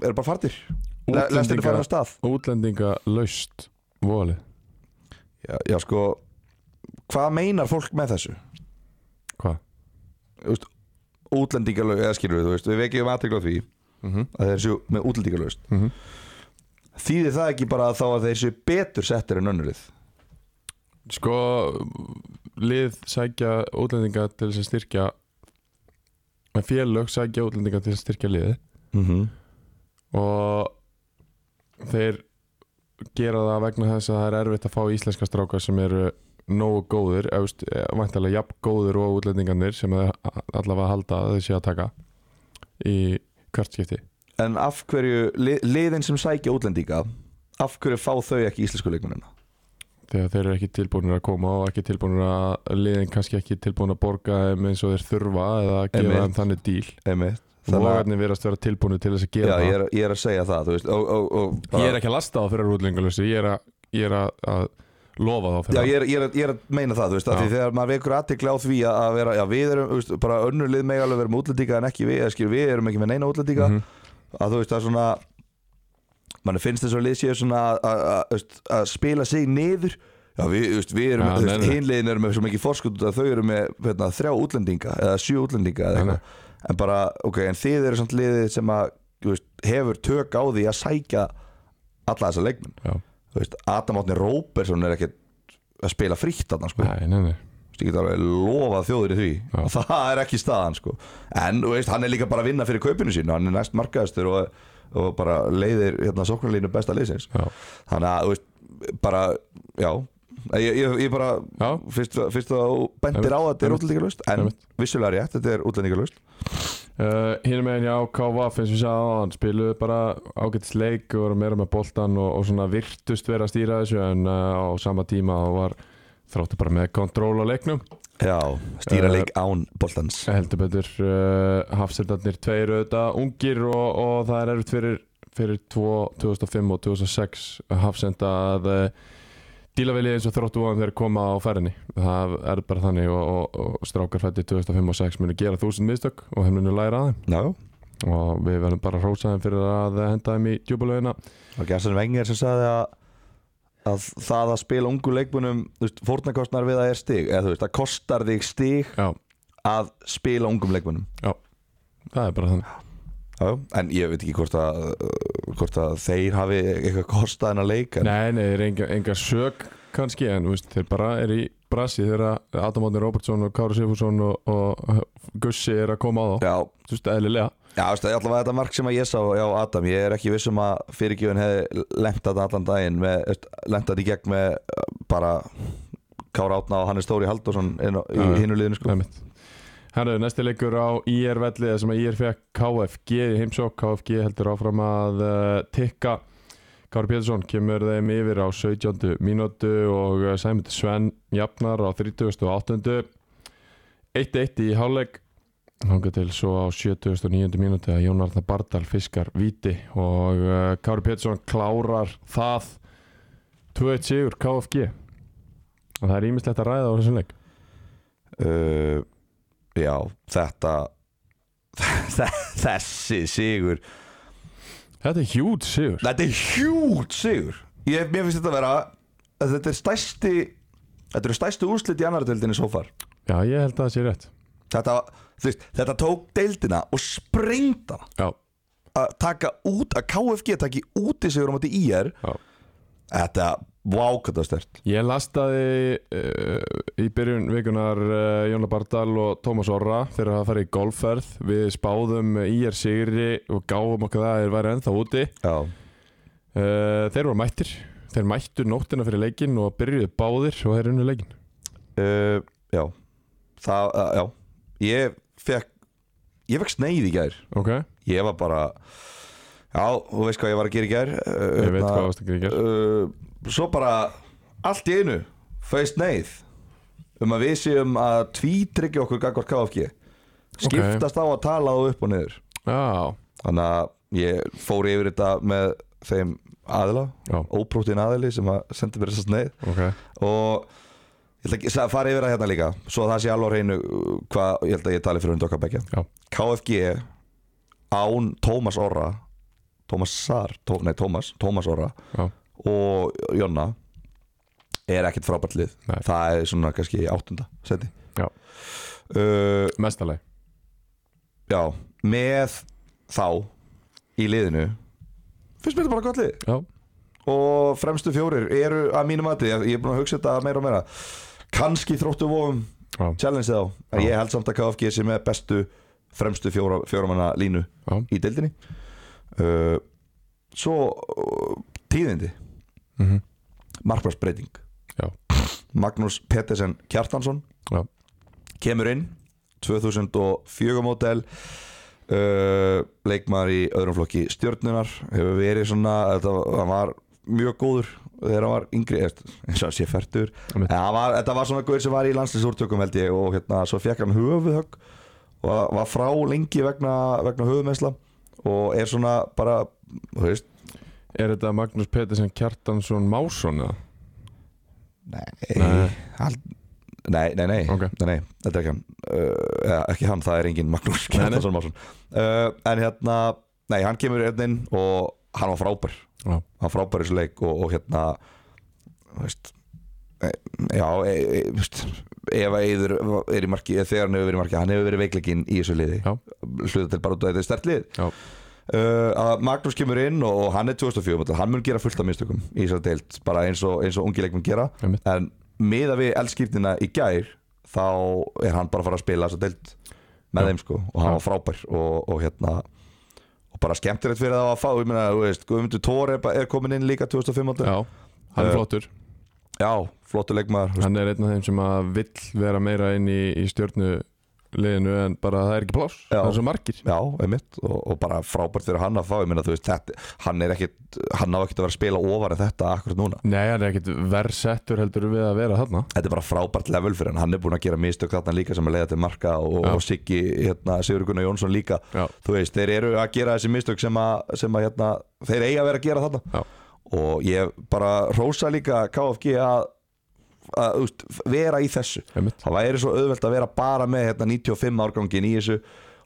B: eru bara fartir Le-
A: Útlendinga-
B: Lestin er farin á stað
A: Útlendinga laust volið
B: já, já, sko, hvað meinar fólk með þessu?
A: Hvað?
B: Þú veist, Útlendingalög, eða skilur við, þú veist, við vekjum aðtekla því
A: Mm -hmm.
B: að þeir séu með útlendingalögst Þýðir það ekki bara þá að þeir séu betur settir en önnurlið?
A: Sko, lið sækja útlendinga til þess að styrkja félög sækja útlendinga til þess að styrkja liði
B: Mm -hmm.
A: og þeir gera það vegna þess að það er erfitt að fá íslenska strákar sem eru nógu góðir, efst, væntalega eh, jafn góðir og útlendingarnir sem þeir allavega halda að þeir sé að taka í hvert skipti
B: En af hverju, li, liðin sem sækja útlendinga af hverju fá þau ekki íslensku leikmennina?
A: þegar þeir eru ekki tilbúinir að koma og ekki tilbúinir að liðin kannski ekki tilbúin að borga þeim eins og þeir þurfa eða að gefa
B: Einmitt.
A: þeim þannig díl
B: Einmitt Þannig að-
A: Vogarnir verðast vera tilbúinir til þess að
B: Já,
A: gera
B: ég
A: það
B: er, ég er að segja það þú veist, og, og, og, bara,
A: Ég er ekki að lasta þá fyrir útlengalösi ég er að, ég er að, að lofa þá
B: Já,
A: fyrir
B: ég er, ég, er, ég er að meina það, þú veist, af
A: Já.
B: því þegar maður vekur aðtikla á því að- að vera, já, við erum, þú veist, bara önnur lið með alveg vera með útlendinga en ekki við, eða skil, við erum ekki með neina útlendinga,
A: Mhm.
B: að þú veist, það er svona, mann finnst þess að lið séu svona að- að- að þú veist, að spila sig niður, já, við, þú veist, við erum,
A: Já,
B: þú
A: nei, nei.
B: veist, hinliðin erum með svo mikið forskut að þau eru með, hérna, þrjá útlendinga eða sjö útlendinga eða
A: Nei,
B: eitthvað, en bara, ok, en þið eru samt liðið sem að, þú veist, hefur tök á því að sækja alla þessa leikmenn
A: Já.
B: þú veist, Adam Átni Róberson er ekkert að spila frítt þarna sko,
A: Nei, nei, nei
B: Þú veist, ég get alveg lofað þjóður í því
A: Já.
B: og *laughs* það er ekki staðan sko en þú veist, hann er líka bara að vinna fyrir kaupinu sínu hann er næst markaðastur og, og bara leiðir hérna sóknarlínu besta liðsins
A: Já.
B: þannig að, þú veist, bara já, ég, ég, ég bara
A: Já.
B: fyrst, fyrst að bendir á að þetta er
A: Einmitt.
B: útlendingalust en
A: Einmitt.
B: vissulega rétt, þetta er útlendingalust
A: Uh, Hinn meginn já, KVF eins og við sagði hann spiluðu bara ágætis leik og voru meira með boltan og, og svona eh, virtust vera að stýra þessu en uh, á sama tíma þá var þróttu bara með kontról á leiknum
B: Já, stýra
A: Eh,
B: leik án boltans
A: heldur betur uh, Hafsirtarnir tveir auðvitað ungir og, og það er erfitt fyrir, fyrir tvo, 2005 og 2006 Hafsend að uh, díla vel í eins og þróttu og þeir koma á færinni það er bara þannig og, og, og strákar fætti 2005 og 2006 munu gera þúsund mistök og þeir munu læra að
B: Já,
A: þeim og við verðum bara að hrósa þeim fyrir að henda þeim í djúbulögina
B: og Gersan Wenger sem sagði að, að það að spila ungu leikmunum fórnarkostnar við að er stig eða þú veist, það kostar þig stig
A: já,
B: að spila ungum leikmunum
A: það er bara þannig
B: Já, en ég veit ekki hvort að, hvort að þeir hafi eitthvað kostað en að leika
A: nei, nei, þeir eru enga, enga sök kannski en þú veist, þeir bara er í brasi þegar Adam Átni Robertsson og Kári Sigfússon og, og Gussi er að koma á þá
B: Já,
A: þú veist, eðlilega
B: já veist, það er allavega þetta mark sem að ég sá já, Adam, ég er ekki viss um að fyrirgjöfin hefði lentat allan daginn með, lentat í gegn með eh, bara Kára Átna og Hannes Stóri Halldórsson inn á- í
A: Já, já.
B: hinu liðinu sko
A: það er mitt Herru, næsti leikur á IR velli þar sem að IR fekk KFG í heimsók KFG heldur áfram að uh, tikka Kári Pétursson kemur þeim yfir á 17. mínútu og eh, Sæmund Sven jafnar á 38. 1-1 í hálfleik hanga til svo á 79. mínútu að Jón Arna Bardal fiskar viti og uh, Kári Pétursson klárar það 2-1 sigur KFG og það er ímislegt að ræða á þessum leik
B: uh, Já, þetta *laughs* Þessi sigur
A: Þetta er hjút sigur
B: Þetta er hjút sigur ég, Mér finnst þetta að vera að Þetta er stæsti Þetta eru stæstu úrslit í annar deildinni svo far
A: Já, ég held að það sé rétt
B: Þetta, þú veist, þetta tók deildina og sprengta
A: Já,
B: að taka út, að KFG taki úti sigur á móti IR
A: Já.
B: Þetta, vá, hvað það er stert
A: Ég lastaði uh, í byrjun vikunar uh, Jónla Bardal og Tómas Orra fyrir að fara í golfferð Við spáðum IR sigri og gáfum okkur það að þeir væri ennþá úti
B: Já,
A: uh, Þeir voru mættir Þeir mættu nóttina fyrir leikin og byrjuðu báðir og þeir unnu leikin
B: uh, já Það, uh, já Ég fekk, ég fekk sneið í gær
A: Ok,
B: Ég var bara Já, þú veist hvað ég var að gera í gær uh,
A: ég veit hvað varst að gríkja
B: uh, Svo bara Allt í einu Feist neyð Um að við séum að tvítryggja okkur Gagvart KFG Skiptast á að tala þú upp og niður
A: Já,
B: Þannig að ég fór yfir þetta með þeim aðila
A: já,
B: Óprótin aðili sem að sendi mér þessa sneið
A: ok
B: Og ég ætla ekki að fara yfir það hérna líka Svo að það sé alveg á hreinu uh, Hvað ég held að ég tali fyrir undir okkar bekja
A: Já,
B: KFG án Tómas Orra Tómas Sar, tó, nei Tómas Tómas Orra
A: já,
B: og Jonna er ekkert frábært lið
A: Nei.
B: það er svona kannski áttunda seti
A: Já.
B: uh,
A: mestaleg
B: já með þá í liðinu finnst mér þetta bara gott lið
A: Já,
B: og fremstu fjórir eru að mínu mati ég ég er búin að hugsa þetta meira og meira kannski þróttu vofum
A: já,
B: challenge þá en ég held samt að KFG sé með bestu fremstu fjóra, fjóramanna línu
A: já,
B: í deildinni uh, svo uh, tíðindi
A: mhm,
B: markmannsbreyting
A: Já.
B: Magnús Pettersen Kjartansson
A: Já.
B: kemur inn 2004 mótel uh, leikmaður í öðrum flokki stjörnunar hefur verið svona þetta, hann var mjög góður þegar hann var yngri eða, eins og hann sé færtur en
A: Einmitt.
B: hann var, þetta var svona góður sem var í landslisúrtökum held ég og hérna svo fekk hann höfuðhögg og var- var frá lengi vegna, vegna höfuðmesla og er svona bara þú veist
A: Er þetta Magnús Pettersen Kjartansson Másson eða?
B: Nei,
A: Nei.
B: All... nei, nei, nei.
A: Ok.
B: nei, nei, þetta er ekki hann uh, eða, Ekki hann, það er engin Magnús
A: Nei, nei.
B: Kjartansson Másson uh, En hérna, nei, hann kemur hérna inn og hann var frábær
A: Já.
B: Hann var frábær í þessu leik og, og hérna þú veist e, Já, e, e, þú veist, ef að Eiður er í marki, eða þegar hann hefur verið í marki hann hefur verið veikleikinn í þessu liði
A: Já.
B: hluta til bara út af því að þetta er stert lið
A: Já.
B: Uh, að Magnús kemur inn og, og hann er 2004 módel. hann mun gera fullt af mistökum í þessar deild bara eins og, eins og ungi leikmenn gera
A: Einmitt.
B: en miða við eldskiptina í gær þá er hann bara að fara að spila þessar deild með
A: Já.
B: þeim sko og
A: Já.
B: hann var frábær og, og hérna og bara skemmtilegt fyrir það að fá ég meina, þú veist, Guðmundur Tóri er komin inn líka 2005 módel.
A: Já, hann er
B: Eh,
A: flottur
B: já, flottu leikmaður þú veist.
A: Hann er einn af þeim sem að vill vera meira inn í, í stjórnu liðinu en bara það er ekki pláss
B: Já.
A: það er svo margir
B: Já, einmitt og, og bara frábært fyrir hann að fá ég minna þú veist, þetta, hann er ekkit hann á ekkit að vera að spila ofar en þetta akkurat núna
A: Nei, hann er ekkit versettur heldur við að vera þarna
B: Þetta er bara frábært level fyrir hann, hann er búin að gera mistök þarna líka sem að leiða til marka og,
A: Já.
B: og Siggi, hérna, Sigur Gunnar Jónsson líka
A: Já.
B: þú veist, þeir eru að gera þessi mistök sem að, sem að hérna, þeir eiga að vera að gera þarna
A: Já.
B: og ég bara rósa líka KFG að, að úst, vera í þessu
A: Einmitt.
B: það væri svo auðvelt að vera bara með hérna, 95 árgangin í þessu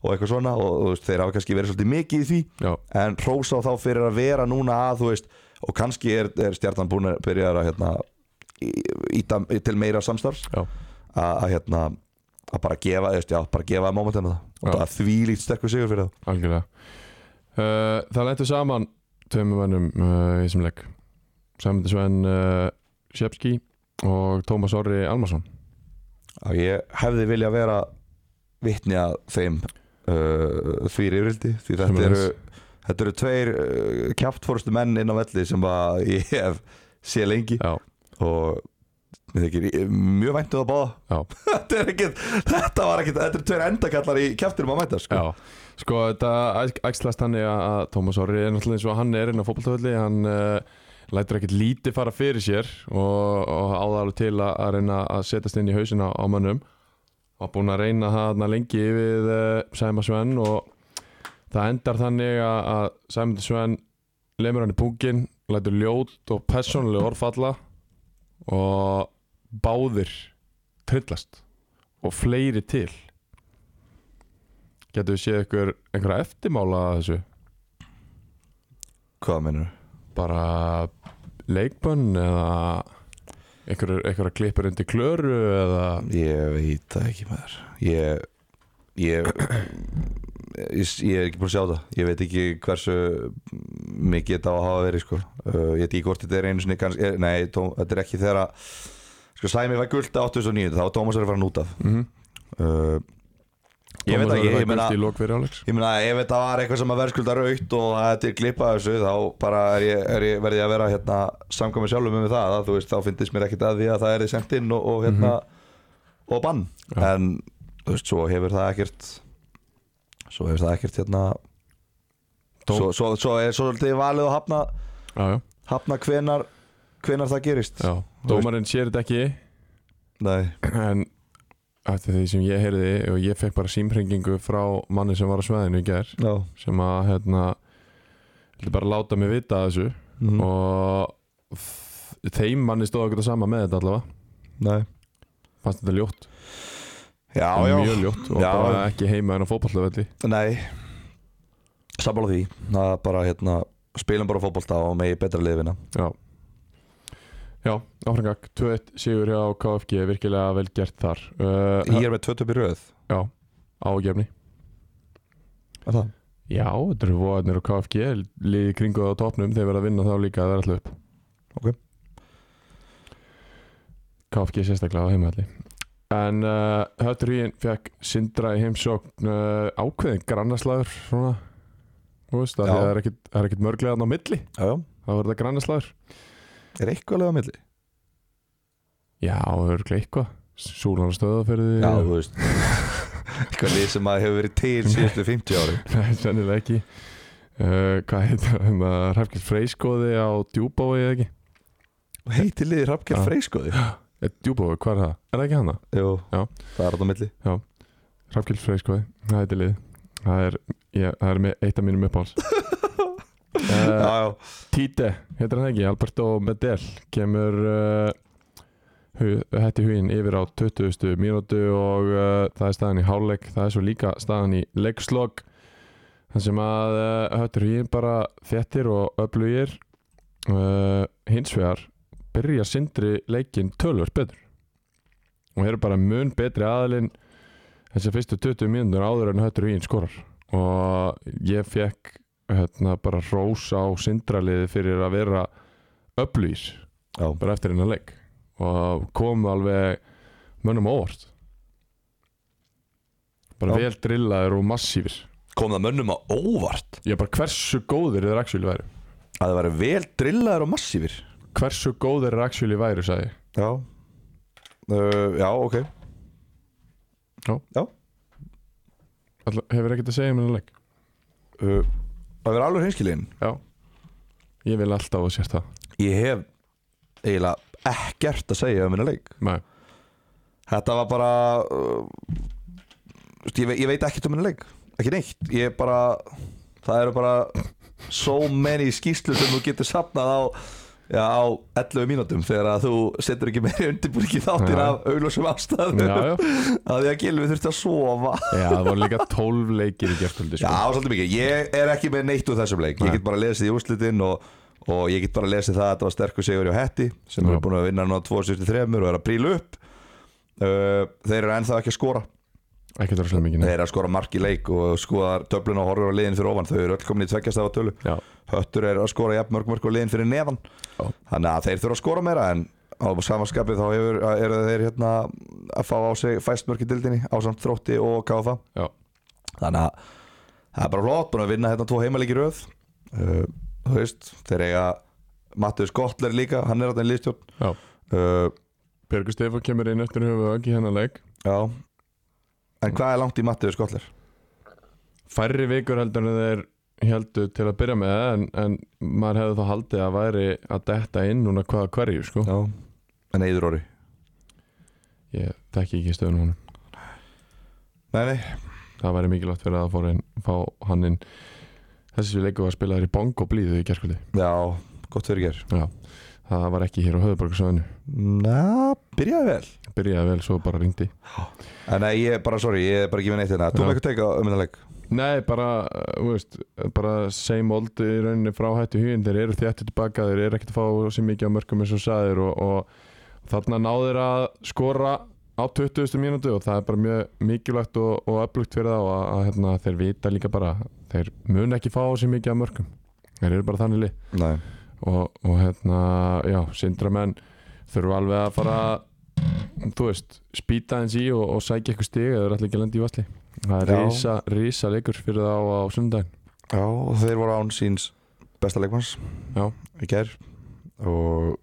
B: og eitthvað svona og þú veist, þeir hafa kannski verið svolítið mikið í því
A: Já,
B: en rósa þá fyrir að vera núna að þú veist, og kannski er, er stjartan búin að byrja að hérna, í- íta til meira samstarfs
A: já,
B: að, að hérna að bara gefa, þú veist, já, bara gefa að momentinu það og
A: Já.
B: það er þvílíkt sterkur sigur fyrir það
A: algjörlega uh, Það lentu saman tveimur mennum uh, í þessum leik Sæmundi Sven uh, Sjepski og Tómas Orri Almarsson
B: að ég hefði vilja vera vitni að þeim uh, því rifrildi því þetta eru,
A: Sömuleiðis.
B: þetta eru tveir uh, kjaftfórustu menn inn á velli sem að ég hef sé lengi
A: Já,
B: og mér þykir ég- mjög væntu að báða
A: já,
B: *laughs* þetta, er ekkit, þetta var ekkit, þetta eru tveir endakallar í kjaftinum að mæta sko.
A: já Sko, þetta æxlast þannig að að Tómas Orri er náttúrulega eins og hann er inn á fótboltafölli hann uh, lætur ekkert lítið fara fyrir sér og, og áða alveg til að, að reyna að setjast inn í hausina á mönnum og búin að reyna það þarna lengi við uh, Sæma Sven og það endar þannig að, að Sæmundur Sven lemur hann í punkin lætur ljót og persónuleg orðfalla og báðir trillast og fleiri til Getur við séð ykkur einhverja eftirmála að þessu?
B: hvað mennur?
A: Bara leikbönn eða einhverja, einhverja klippur undir klöru eða
B: Ég veit það ekki maður Ég Ég, ég, ég er ekki búin að sjá það Ég veit ekki hversu mikið þetta á að hafa verið sko. uh, Ég veit ekki hvort þetta er einu sinni kanns, er, Nei, tó, þetta er ekki þegar að sko, Sæmi var gult að 2009 Þá var Tómas er að fara nút af
A: mm -hmm.
B: uh, Ég veit ekki, ég meina
A: Í lók fyrir áleiks
B: Ég meina, ef þetta var eitthvað sem að verðskulda raukt og þetta er glipað þessu, þá bara er ég, er ég verði ég að vera hérna samkvæmi sjálfum með það, að, þú veist, þá finnst mér ekkit að því að það er sendt inn og, og hérna og bann,
A: Já.
B: en þú veist, svo hefur það ekkert svo hefur það ekkert hérna
A: Dóm.
B: svo, svo, svo er svolítið valið að hafna,
A: Já, já,
B: hafna hvenar hvenar það gerist
A: já Dómarinn sér þetta ekki
B: Nei,
A: En eftir því sem ég heyrði og ég fekk bara símhringingu frá manni sem var á sveðinu í gær
B: já,
A: sem að hérna vildi bara láta mig vita af þessu
B: mm,
A: og þ- þeim manni stóð ekkert að sama með þetta allavega
B: nei
A: fannst þetta ljótt
B: Já, já,
A: mjög ljótt og
B: Já.
A: bara ekki heima en á fótballvelli
B: Nei Sammála því Það er bara hérna Spilum bara fótbolta og megi betra liðina
A: Já Já, áframgag, 2-1 sigur hjá KFG virkilega vel gert þar uh,
B: Ég er með tvö töp í röð
A: Já, ágefni
B: Er það?
A: Já, þetta eru voðarnir á KFG liði kringu það á topnum, þeir verða að vinna þá líka að vera alltaf upp
B: Ok.
A: KFG sérstaklega á heimaðalli En uh, Höttur Híin fekk Sindra í heimsókn uh, ákveðin grannaslagur svona Þú veist, af því
B: Já.
A: að það er ekkit, það er ekkit mörglega þarna á milli,
B: Já, já
A: það verður það grannaslagur
B: Er eitthvað alveg á milli?
A: Já, örglega eitthvað Súlan stöðaferði
B: Já, þú veist *laughs* Eitthvað lið sem að hefur verið til *laughs* síðustu 50 ári
A: *laughs* Nei, sennilega ekki uh, Hvað heitir það? Hrafkjörn Freyskóði á Djúbói eða ekki?
B: Heiti liði Hrafkjær
A: Já.
B: Freyskoði
A: Er Djúbói, Eh, hvað er það? Er það ekki hana?
B: Jú,
A: Já.
B: það er þetta á milli *laughs*
A: Hrafkjörn Freyskóði, það heitir lið Það er, ég, það er með, eitt af mínum uppáhalds
B: Já,
A: uh,
B: já,
A: Títe, heitir hann ekki? Alberto Medel kemur uh, hu, hætti huginn yfir á 20. mínútu og uh, það er staðan í hálfleik það er svo líka staðan í leikslokk þar sem að uh, höttur huginn bara þettir og öflugir uh, hins vegar byrja sindri leikinn tölvöld betur og eru bara mun betri aðalinn þessi fyrstu 20 mínútur áður en höttur huginn skorar og ég fekk hérna, bara rósa á sindraliði fyrir að vera öflýs
B: já
A: bara eftir hennar leik og kom alveg mönnum á óvart bara
B: Já.
A: vel drillaðir og massífir
B: Kom það mönnum á óvart
A: ég bara hversu góðir þeir actually væru
B: Að það væri vel drillaður og massífir
A: hversu góðir þeir actually væru sagði ég.
B: Eh, Já uh, Já, ok
A: Já.
B: Já
A: Alla, hefur ekkert að segja um hennar leik
B: uh, að vera alveg hinskilinn
A: Já Ég vil alltaf að sér það
B: ég hef eiginlega ekkert að segja um minna leik
A: Nei,
B: þetta var bara uh, ég, ve ég veit ekkert um minna leik ekki neitt, ég bara það eru bara so many skýslu sem þú getur safnað á Já, á 11 mínútum þegar að þú setur ekki meiri undirbúringi þáttir
A: Já.
B: af auglósum afstæðum
A: já, já
B: að því að Gilvi þurfti að sofa
A: Já, það voru líka 12 leikir í gerkvöldi
B: Já,
A: sko.
B: það var svolítið mikið. Ég er ekki með neitt úr þessum leik.
A: Nei.
B: Ég get bara lesið í úrslitin og, og ég get bara lesið það að þetta var sterkur sigur hjá Hetti sem
A: Já.
B: eru búin að vinna hann á 2.73 og er að príla upp. Uh, þeir eru ennþá ekki að skora.
A: Ekki það rosalega mikið
B: Þeir
A: nei.
B: eru að skora mark í leik og skoðar töflun og horfur á liðin fyrir ofan. Þau eru öll komin í tveggjastafa tölu.
A: Já,
B: Höttur eru að skora jafn mörg mörg og liðin fyrir neðan.
A: Já.
B: Þannig að þeir þurfa að skora meira en á samanskapið þá hefur, eru þeir hérna að fá á sig fæst mörg í dildinni á samt þrótti og KFA
A: já,
B: þannig að það er bara flott búin að vinna hérna tvo heimaleiki í röð uh, þú veist, þeir eiga Mattius Gottler líka, hann er á í liðstjórn
A: já
B: uh,
A: Björgur Stefán kemur inn eftir höfu ekki hennar leik
B: já en hvað er langt í Mattius Gottler?
A: Færri vikur heldur en þeir heldur til að byrja með en, en maður hefði þá haldið að væri að detta inn núna hvaða hverju sko.
B: já, en Eidur Orri
A: Ég tekki ekki stöðun honum
B: nei, nei,
A: Það væri mikilvægt fyrir að fá, inn, fá hann inn Þessi leiku var spilaður í bong og blíðu í gerkvöldi
B: já, gott fyrir ger
A: Já, það var ekki hér á höfuborgarsöðinu
B: na, byrjaði vel
A: Byrjaði vel, svo bara ringdi
B: en nei, ég er bara, sorry, ég er bara ekki með neitt hérna þú
A: Já.
B: með eitthvað teika um þetta leik
A: Nei, bara, uh, þú veist, bara same old í rauninni frá hættu hugin þeir eru þjættu tilbaka, þeir eru ekkert að fá sér mikið á mörgum eins og sæðir og, og þarna náður að skora á 20. mínútu og það er bara mjög mikilvægt og, og öflugt fyrir þá að, að hérna, þeir vita líka bara þeir mun ekki fá sér mikið á mörgum þeir eru bara þannig lið
B: nei,
A: og, og hérna, já, sindramenn þurfa alveg að fara þú veist, spýta eins í og, og sækja eitthvað stig eða þeir eru allir ekki að lenda í valli það
B: Já.
A: er risa, risa leikur fyrir þá á sundaginn
B: já, og þeir voru án síns besta leikmanns
A: Já.
B: í ger og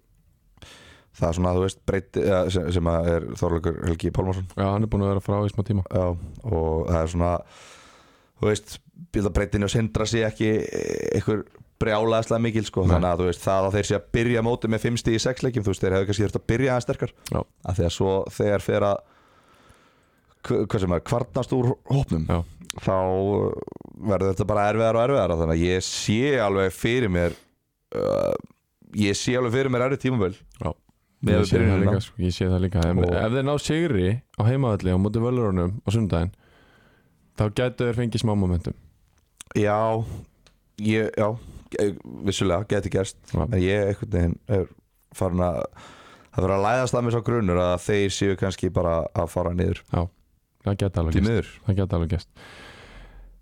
B: það er svona, þú veist, breyti ja, sem, sem að er Þorleikur Helgi Pálmarsson
A: já, hann er búin að vera frá í smá tíma
B: Já, og það er svona þú veist, bílabreytin og sindra sé ekki e, einhver brjálaðislega mikil sko,
A: Nei.
B: þannig að þú veist, það að þeir sé að byrja mótið með fimmsti í sex leikjum, þú veist, þeir hefðu kannski þurft að byrja aðeins sterkar,
A: Já.
B: að því að svo þegar fer að hv- hvað sem er, kvartnast úr hópnum
A: Já.
B: þá eh, verður þetta bara erfiðar og erfiðar þannig að ég sé alveg fyrir mér uh, ég sé alveg fyrir mér erfið tímaböl
A: Já.
B: með
A: ég sé, það
B: byrjunina
A: líka, sko, ég sé það líka ef,
B: Og-
A: ef þeir ná sigri á heimavalli á móti völarunum á sundaginn þá gætu þeir fengið smá momentum
B: Já, ég, já ég- vissulega, geti gerst
A: Já.
B: en ég einhvern veginn er farin að það fyrir að læðast að mér svo grunur að þeir séu kannski bara að fara niður
A: það gæti alveg
B: til
A: gæst
B: miður
A: það gæti alveg gæst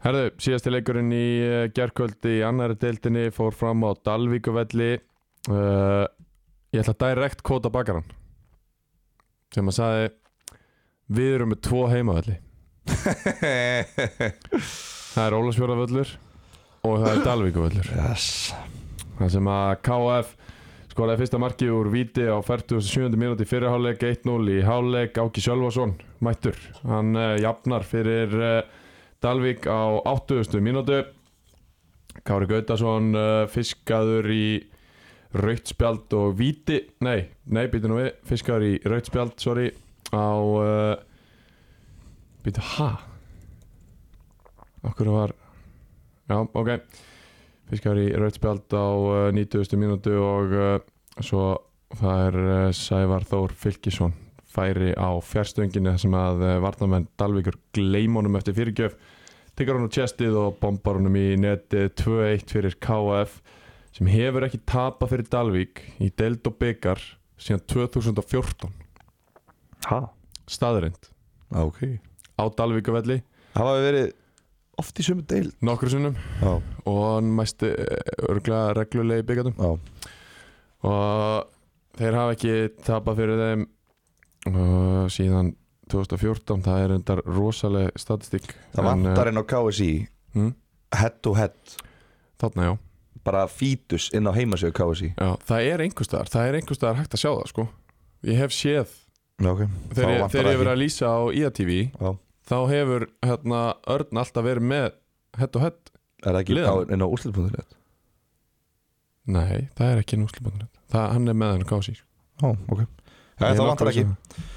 A: Herðu, síðasti leikurinn í uh, gerkvöldi í annari deildinni fór fram á Dalvíkuvelli uh, ég ætla að direkt kóta bakaran sem að sagði við erum með tvo heimavelli það er Ólafsfjörðavöllur og það er Dalvíkuvöllur
B: *laughs* yes.
A: Það sem að KF skoraði fyrsta markið úr víti á 47. mínúti í fyrirháleik 1-0 í háleik Áki Sjölvason mættur, hann uh, jafnar fyrir uh, Dalvík á 80. mínútu Kári Gautason uh, fiskaður í rautt spjald og víti nei, nei, býtu nú við, fiskaður í rautt spjald sorry, á uh, býtu, ha? okkur var já, ok fiskar í rautspjald á uh, 90. mínútu og uh, svo fær uh, Sævar Þór Fylkisson færi á fjárstönginu þar sem að uh, varnamenn Dalvíkur gleym honum eftir fyrirgjöf tekur honum tjestið og bombar honum í netið 2-1 fyrir KF sem hefur ekki tapað fyrir Dalvík í deild og byggar síðan 2014
B: ha,
A: staðrind
B: Ah, ok
A: á Dalvíkavelli
B: hafa við verið oft í sömu deil
A: nokkru sinnum
B: já,
A: og hann mæsti örglega reglulegi byggandum
B: já,
A: og þeir hafa ekki tapað fyrir þeim uh, síðan 2014 það er undar rosaleg statistík
B: það
A: En,
B: vantar inn á KSI
A: uh, hm,
B: head to head,
A: þarna já.
B: bara fítus inn á heimasögu KSI
A: já það er einhverstaðar, það er einhverstaðar hægt að sjá það sko ég hef séð
B: já, ok,
A: þegar ég-
B: vantar
A: þegar ég hef
B: ekki.
A: verið að lýsa á IATV
B: Já.
A: þá hefur hérna, Örn alltaf verið með hett og hett
B: Er það ekki
A: Liðan.
B: á- inn á úrslit.net?
A: Nei, það er ekki núslubandunum Það, hann er með hann kási
B: Já, ok Það er það vantar ekki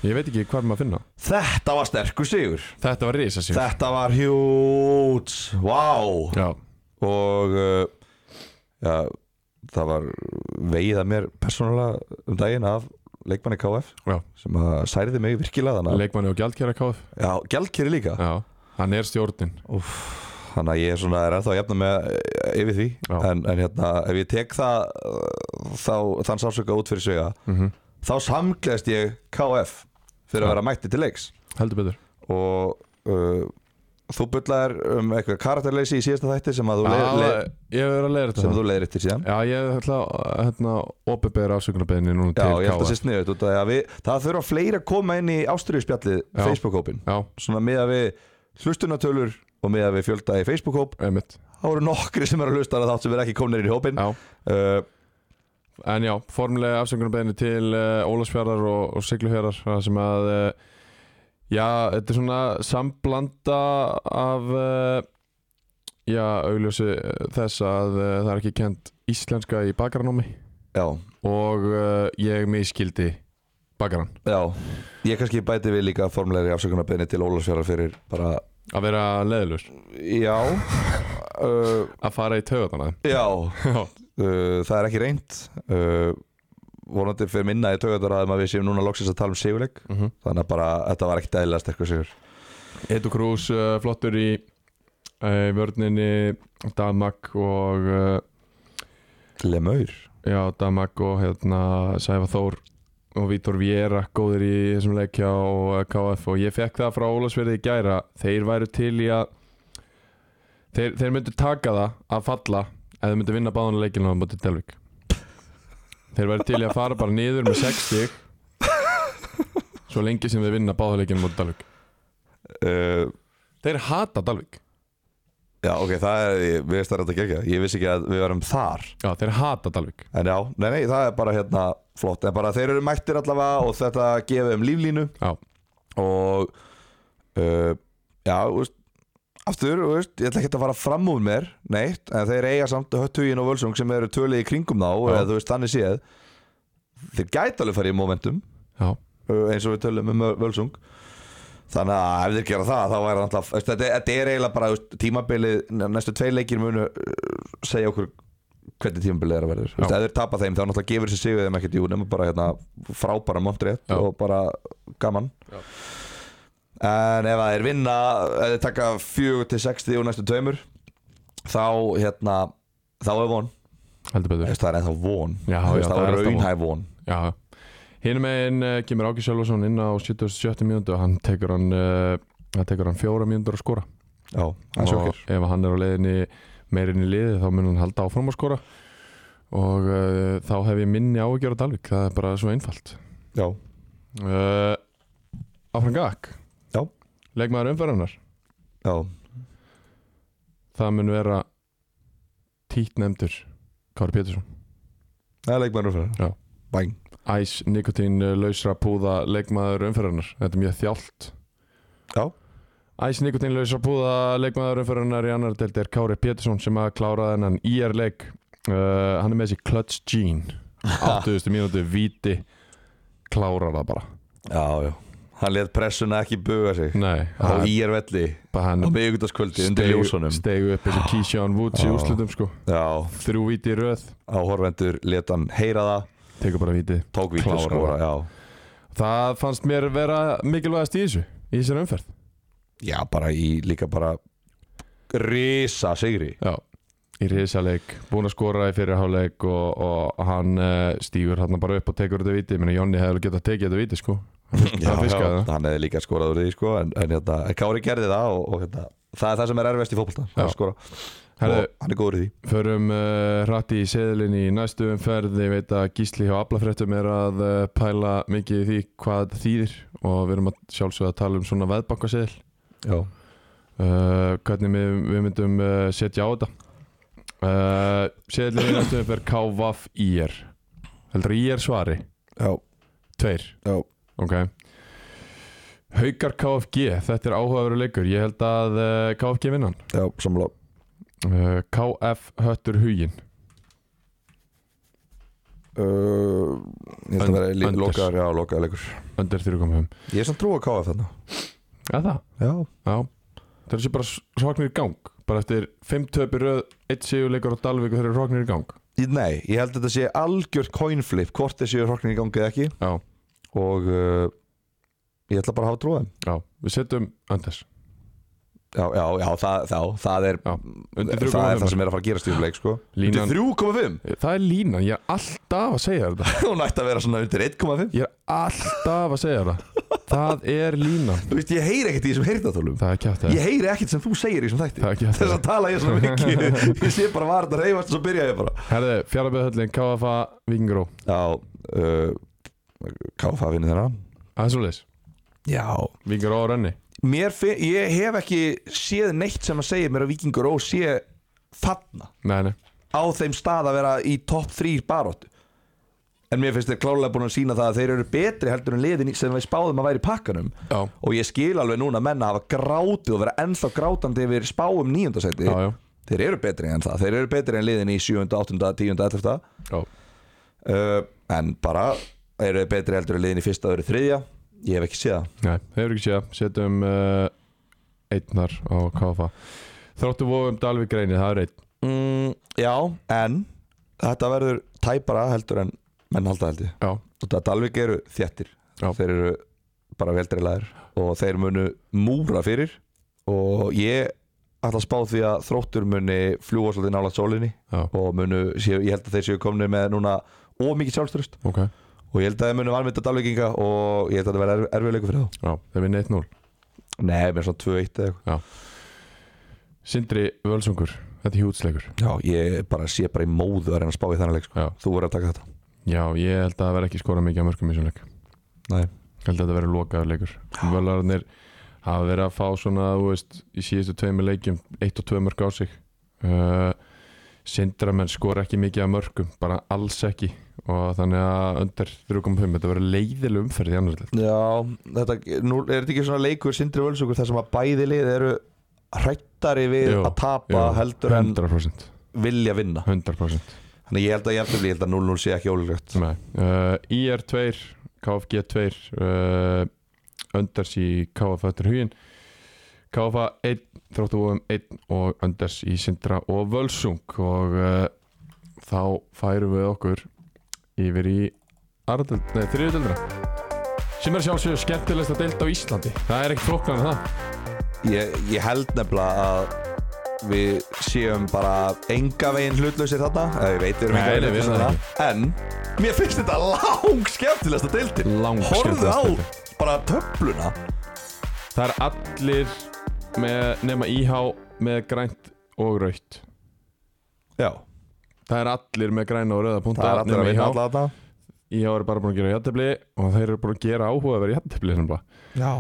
A: Ég veit ekki hvað er maður að finna
B: Þetta var sterkur sigur
A: Þetta var risa sér
B: Þetta var hjút Vá
A: Já,
B: Og uh, já, Það var veiða mér persónulega um daginn af leikmanni KF
A: já.
B: sem að særiði mig virkilega þannig að-
A: leikmanni og gjaldkjara káð
B: Já, gjaldkeri líka
A: Já, hann er stjórnin
B: Þannig að ég er svona er ennþá jafna með eh, yfir því
A: Já.
B: en, en hérna, ef ég tek það eh, þá, þann sásöka út fyrir svega
A: Mhm.
B: þá samgleðst ég KF fyrir að vera mætti til leiks
A: Heldur betur
B: og uh, þú bullaðir um eitthvað karakterleysi í síðasta þætti sem að þú,
A: Já,
B: le, le,
A: Ég hefur verið að leiða
B: sem
A: þetta
B: þú leiðir eftir síðan
A: Já, ég ætla að hérna, opibera afsökunarbeðinni núna
B: Já,
A: til
B: ég held
A: KF
B: að sé sniðut út af því að við, það þurfa fleiri að koma inn í ástriðspjallið
A: Já.
B: Facebook-hópin
A: Já,
B: svona með að við hlustunatölur og með að við fjölda í Facebook-hóp
A: einmitt
B: þá eru nokkri sem eru að hlusta að þátt sem er ekki komnir inn í hópin
A: Já,
B: uh,
A: en já, formlega afsökunarbeðinni til uh, Ólafsfjarðar og, og Sigluhjarðar þar sem að uh, já, þetta er svona samblanda af uh, já, augljósi eh, þess að uh, það er ekki kent íslenska í bakaranómi
B: Já,
A: og uh, ég miskildi bakaran
B: já Ég kannski bæti við líka formlegri afsökunarbeðni til Ólafsfjara fyrir bara
A: að vera leðilur,
B: Já uh,
A: að fara í töðana
B: Já
A: *laughs* Já,
B: uh, það er ekki reynd uh, vonandi fyrir minna í tögundar að við séum núna loksins að tala um sigurleik
A: mhm
B: þannig að bara þetta var ekkit eðlilega sterkur sigur
A: Edu Krús uh, flottur í uh, vörninni Damak og uh,
B: Lemaur
A: já, Damak og hérna Sæfa Þór og Vítor Viera góðir í þessum leikja og uh, KF og ég fekk það frá Ólasverði í gæra þeir væru til í að þeir, þeir myndu taka það að falla ef þeir myndu vinna báðan leikinu á móti Delvik þeir væru til í að fara bara niður með 60 svo lengi sem þeir vinna báðan leikinu á móti Delvik
B: uh,
A: þeir hata Dalvik
B: Já ok, það er, ég- við veist það er þetta gegja ég vissi ekki að við varum þar
A: já, þeir hata Dalvik
B: en já, nei nei, það er bara hérna flott en bara þeir eru mættir allavega og þetta gefið um líflínu
A: Já.
B: og uh, já, þú veist aftur, þú veist, ég ætla ekki að fara fram úr mér neitt, en þeir eiga samt höttugin og völsung sem eru tölið í kringum þá
A: Já.
B: eða þú veist, þannig séð þeir gæti alveg farið í momentum
A: já
B: uh, eins og við tölum um völsung þannig að ef þeir gera það þá væri alltaf, veist, þetta, þetta er eiginlega bara þú veist, tímabilið, næstu tvei leikir munu uh, segja okkur hvernig tímabilið er að verður, Þú veist,
A: Já.
B: ef þeir tapa þeim þá náttúrulega gefur þessi sigur þeim ekkert jú nema bara hérna, frábæra montrétt
A: Já.
B: og bara gaman
A: Já.
B: en ef þeir vinna ef þeir taka 4-6 og næstu tveimur þá hérna þá er von,
A: heldur
B: Þú
A: betur
B: veist, það er ennþá von
A: Já,
B: Þú
A: já,
B: veist,
A: það
B: það
A: er
B: er
A: alltaf von.
B: raunhæf von
A: já. hinum megin uh, kemur Áki Sjálfarsson inn á 77. mínúndu og hann tekur hann uh, hann tekur hann fjóra mínúndur að skora
B: já, það er
A: og
B: sjokkir
A: ef hann er á leiðinni meirinn í liði þá mun hann halda áfram að skora og uh, þá hef ég minni áhugjör á Dalvik, það er bara svo einfalt
B: já,
A: uh, Áfram Gak
B: Já.
A: leikmaður umferðarnar
B: já,
A: það mun vera títnefndur Kári Pétursson
B: það er leikmennur fyrir
A: Já.
B: bæn
A: Æs, nikotín, uh, lausra púða leikmaður umferðarnar, þetta er mjög þjált
B: Já.
A: Æs Nikotinlaus að búða leikmaður umfyrunar í annar delt er Kári Pétursson sem að klára þennan IR leik uh, hann er með þessi clutch jean
B: *laughs*
A: 80. mínútu viti klárar það bara
B: Já, já Hann let pressuna ekki buga sig
A: Nei,
B: Á
A: hann,
B: ír velli
A: bara hann
B: Á miðugutaskvöldi undir ljósunum
A: stegu upp
B: *gasps*
A: eins og Keyshawn Woods í
B: Já.
A: úrslutum sko
B: Já,
A: þrjú viti í röð,
B: áhorvendur let hann heyra það
A: tekur bara viti
B: Tók vítið
A: Klára
B: skora, já
A: það fannst mér vera mikilvægast í þessu í þessari umferð
B: Já, bara í líka bara Risa *laughs* sigri
A: Já, í risaleik búinn að skora í fyrirháleik og, og hann uh, stýgur hann bara upp og tekur þetta viti, menn Jónni hefði alveg getað tekið þetta viti sko Hann fiskaði það.
B: Hann hefði líka skorað úr því sko En, en hérna, Kári gerði það og, og hérna Það er það sem er erfist í fótbolta
A: Já.
B: að skora.
A: Herðu,
B: Og hann er góður í því
A: förum uh, rætt í seðilinn í næstu umferð ég veit að Gísli hjá Ablafréttum er að uh, pæla mikið í því hvað þetta þýðir og við erum að sjálfsögða að tala um svona veðbankaseðil
B: Já,
A: uh, hvernig við, við myndum uh, setja á þetta uh, seðilinn í næstu umferð KVAF IR heldur IR svari,
B: já,
A: tveir
B: já
A: Ok Haukar KFG, þetta er áhugaveru leikur Ég held að uh, KFG vinnan
B: Já, sammála
A: uh, KF Höttur Hugin
B: uh, Ég held að vera lí-
A: Önders.
B: lokaður, já, lokaður leikur
A: Undir 3.5
B: Ég er samt trú að káða þarna
A: Eða það?
B: Já,
A: Já Það er sér bara svagnir í gang Bara eftir 5 töpi röð 1 sigur leikur á Dalvík og þeir eru svagnir í gang
B: ég, nei, ég held að þetta sé algjört coinflip Hvort þessi er hroknin í gangi eða ekki
A: Já,
B: Og uh, ég ætla bara að hafa trúið
A: já Við setjum Anders
B: Já, já, já, það, já, það er
A: Já, undir
B: Það er það
A: 3.5
B: sem er að fara að gerast í um leik, sko
A: Línan-
B: Undir 3,5 *laughs*
A: Það er línan, ég er alltaf að segja þér þetta
B: Hún ætti að vera svona undir 1,5
A: Ég er alltaf að segja þér það Það er línan
B: Þú veist, ég heyri ekkert í þessum heyrnatólum
A: Það er kjátt
B: Ég heyri ekkert sem þú segir í þessum þætti
A: Það er ekki hægt.
B: Þess að tala
A: *laughs*
B: ég svona mikið Ég sé bara varð að reyfast og svo byrja ég bara
A: Herði, fjárabæðhöllin, KFA, Víkingró
B: Já, uh, KFA vinnir þeirra
A: Það er svolítið
B: Já
A: Víkingró á rönni
B: Mér finn, ég hef ekki séð neitt sem að segja mér að Víkingur Ó sé þarna
A: Nei, nei
B: á þeim stað að vera í topp 3 baróttu En mér finnst þeir klálega búin að sína það að þeir eru betri heldur en liðin í- sem við spáðum að væri í pakkanum
A: Já,
B: Og ég skil alveg núna að menna hafa grátið og vera ennþá grátandi yfir spáum nýjöndasendi
A: já, já,
B: Þeir eru betri en það, þeir eru betri en liðin í 7, 8, 10, 11
A: já.
B: uh, En bara eru þeir betri heldur en liðin í fyrsta, öðru, þriðja Ég hef ekki séð það
A: Nei, það hefur ekki séð það. Setjum uh, einn þar á KFA Þróttu vofum Dalvík reyni, það er einn
B: mm, Já, en þetta verður tæpara heldur en menn halda heldur
A: Já,
B: Þetta Dalvik eru þjættir
A: Já.
B: Þeir eru bara veldreilaðir og þeir munu múra fyrir og ég ætla að spá því að þróttur muni fljúa svolítið nálaðt sólinni
A: já,
B: og munu, séu- ég held að þeir séu komni með núna ómikið sjálfströst
A: ok Já,
B: og ég held að þeir munu vanmynda Dalvikinga og ég held að þetta verði erfiðleiku fyrir þá
A: það vinna 1-0
B: Nei, mér er svona 2-1 eða eitthvað
A: Sindri Völsungur, þetta er hjútsleikur
B: Já, ég bara sé bara í móðu að reyna að spá í þannig leik sko.
A: Já.
B: Þú verður að taka þetta
A: Já, ég held að það verði ekki skora mikið að mörgum í svona leik
B: Nei.
A: Ég held að þetta verði lokaður leikur Völararnir hafa verið að fá svona, þú veist, í síðustu tveimur leikjum eitt og tvö mörg á sig uh, Sindramenn skora ekki mikið að mörgum, bara alls ekki og þannig að undir 3.5 þetta verður leiðileg umferð í annar
B: Já, þetta, nú er þetta ekki svona leikur sindri völsugur þar sem að bæði lið eru hrættari við
A: Jú,
B: að tapa
A: jú,
B: heldur en
A: 100%
B: vilja vinna
A: 100%
B: Þannig ég held að ég eftir ég held að 0-0 sé ekki ólíklegt
A: Nei. uh, IR 2 KFG 2 uh, Önders í KF Öttur Hugin KF 1 Þróttu OM 1 og Önders í Sindra og Völsung og uh, þá færum við okkur yfir í Ardöld, nei, þriðutöldra sem er sjálfsögur skemmtilegst að delta á Íslandi það er ekki flóknar en það
B: ég, ég held nefnilega að við séum bara enga veginn hlutlausir þarna eða ég veit við erum
A: Nei,
B: enga
A: nei,
B: veginn
A: við erum
B: hlutlausir þarna en mér finnst þetta lang skemmtilegsta deildin Horfðu
A: Langskemmtilegasta
B: á
A: deildin.
B: bara töfluna
A: það er allir með, nema IH með grænt og rautt
B: Já,
A: Það er allir með græna og rauða punta
B: það er allir að vinna
A: IH.
B: alla þarna
A: IH er bara búin að gera jættibli og þeir eru búin að gera áhuga að vera jættibli uh,
B: Já,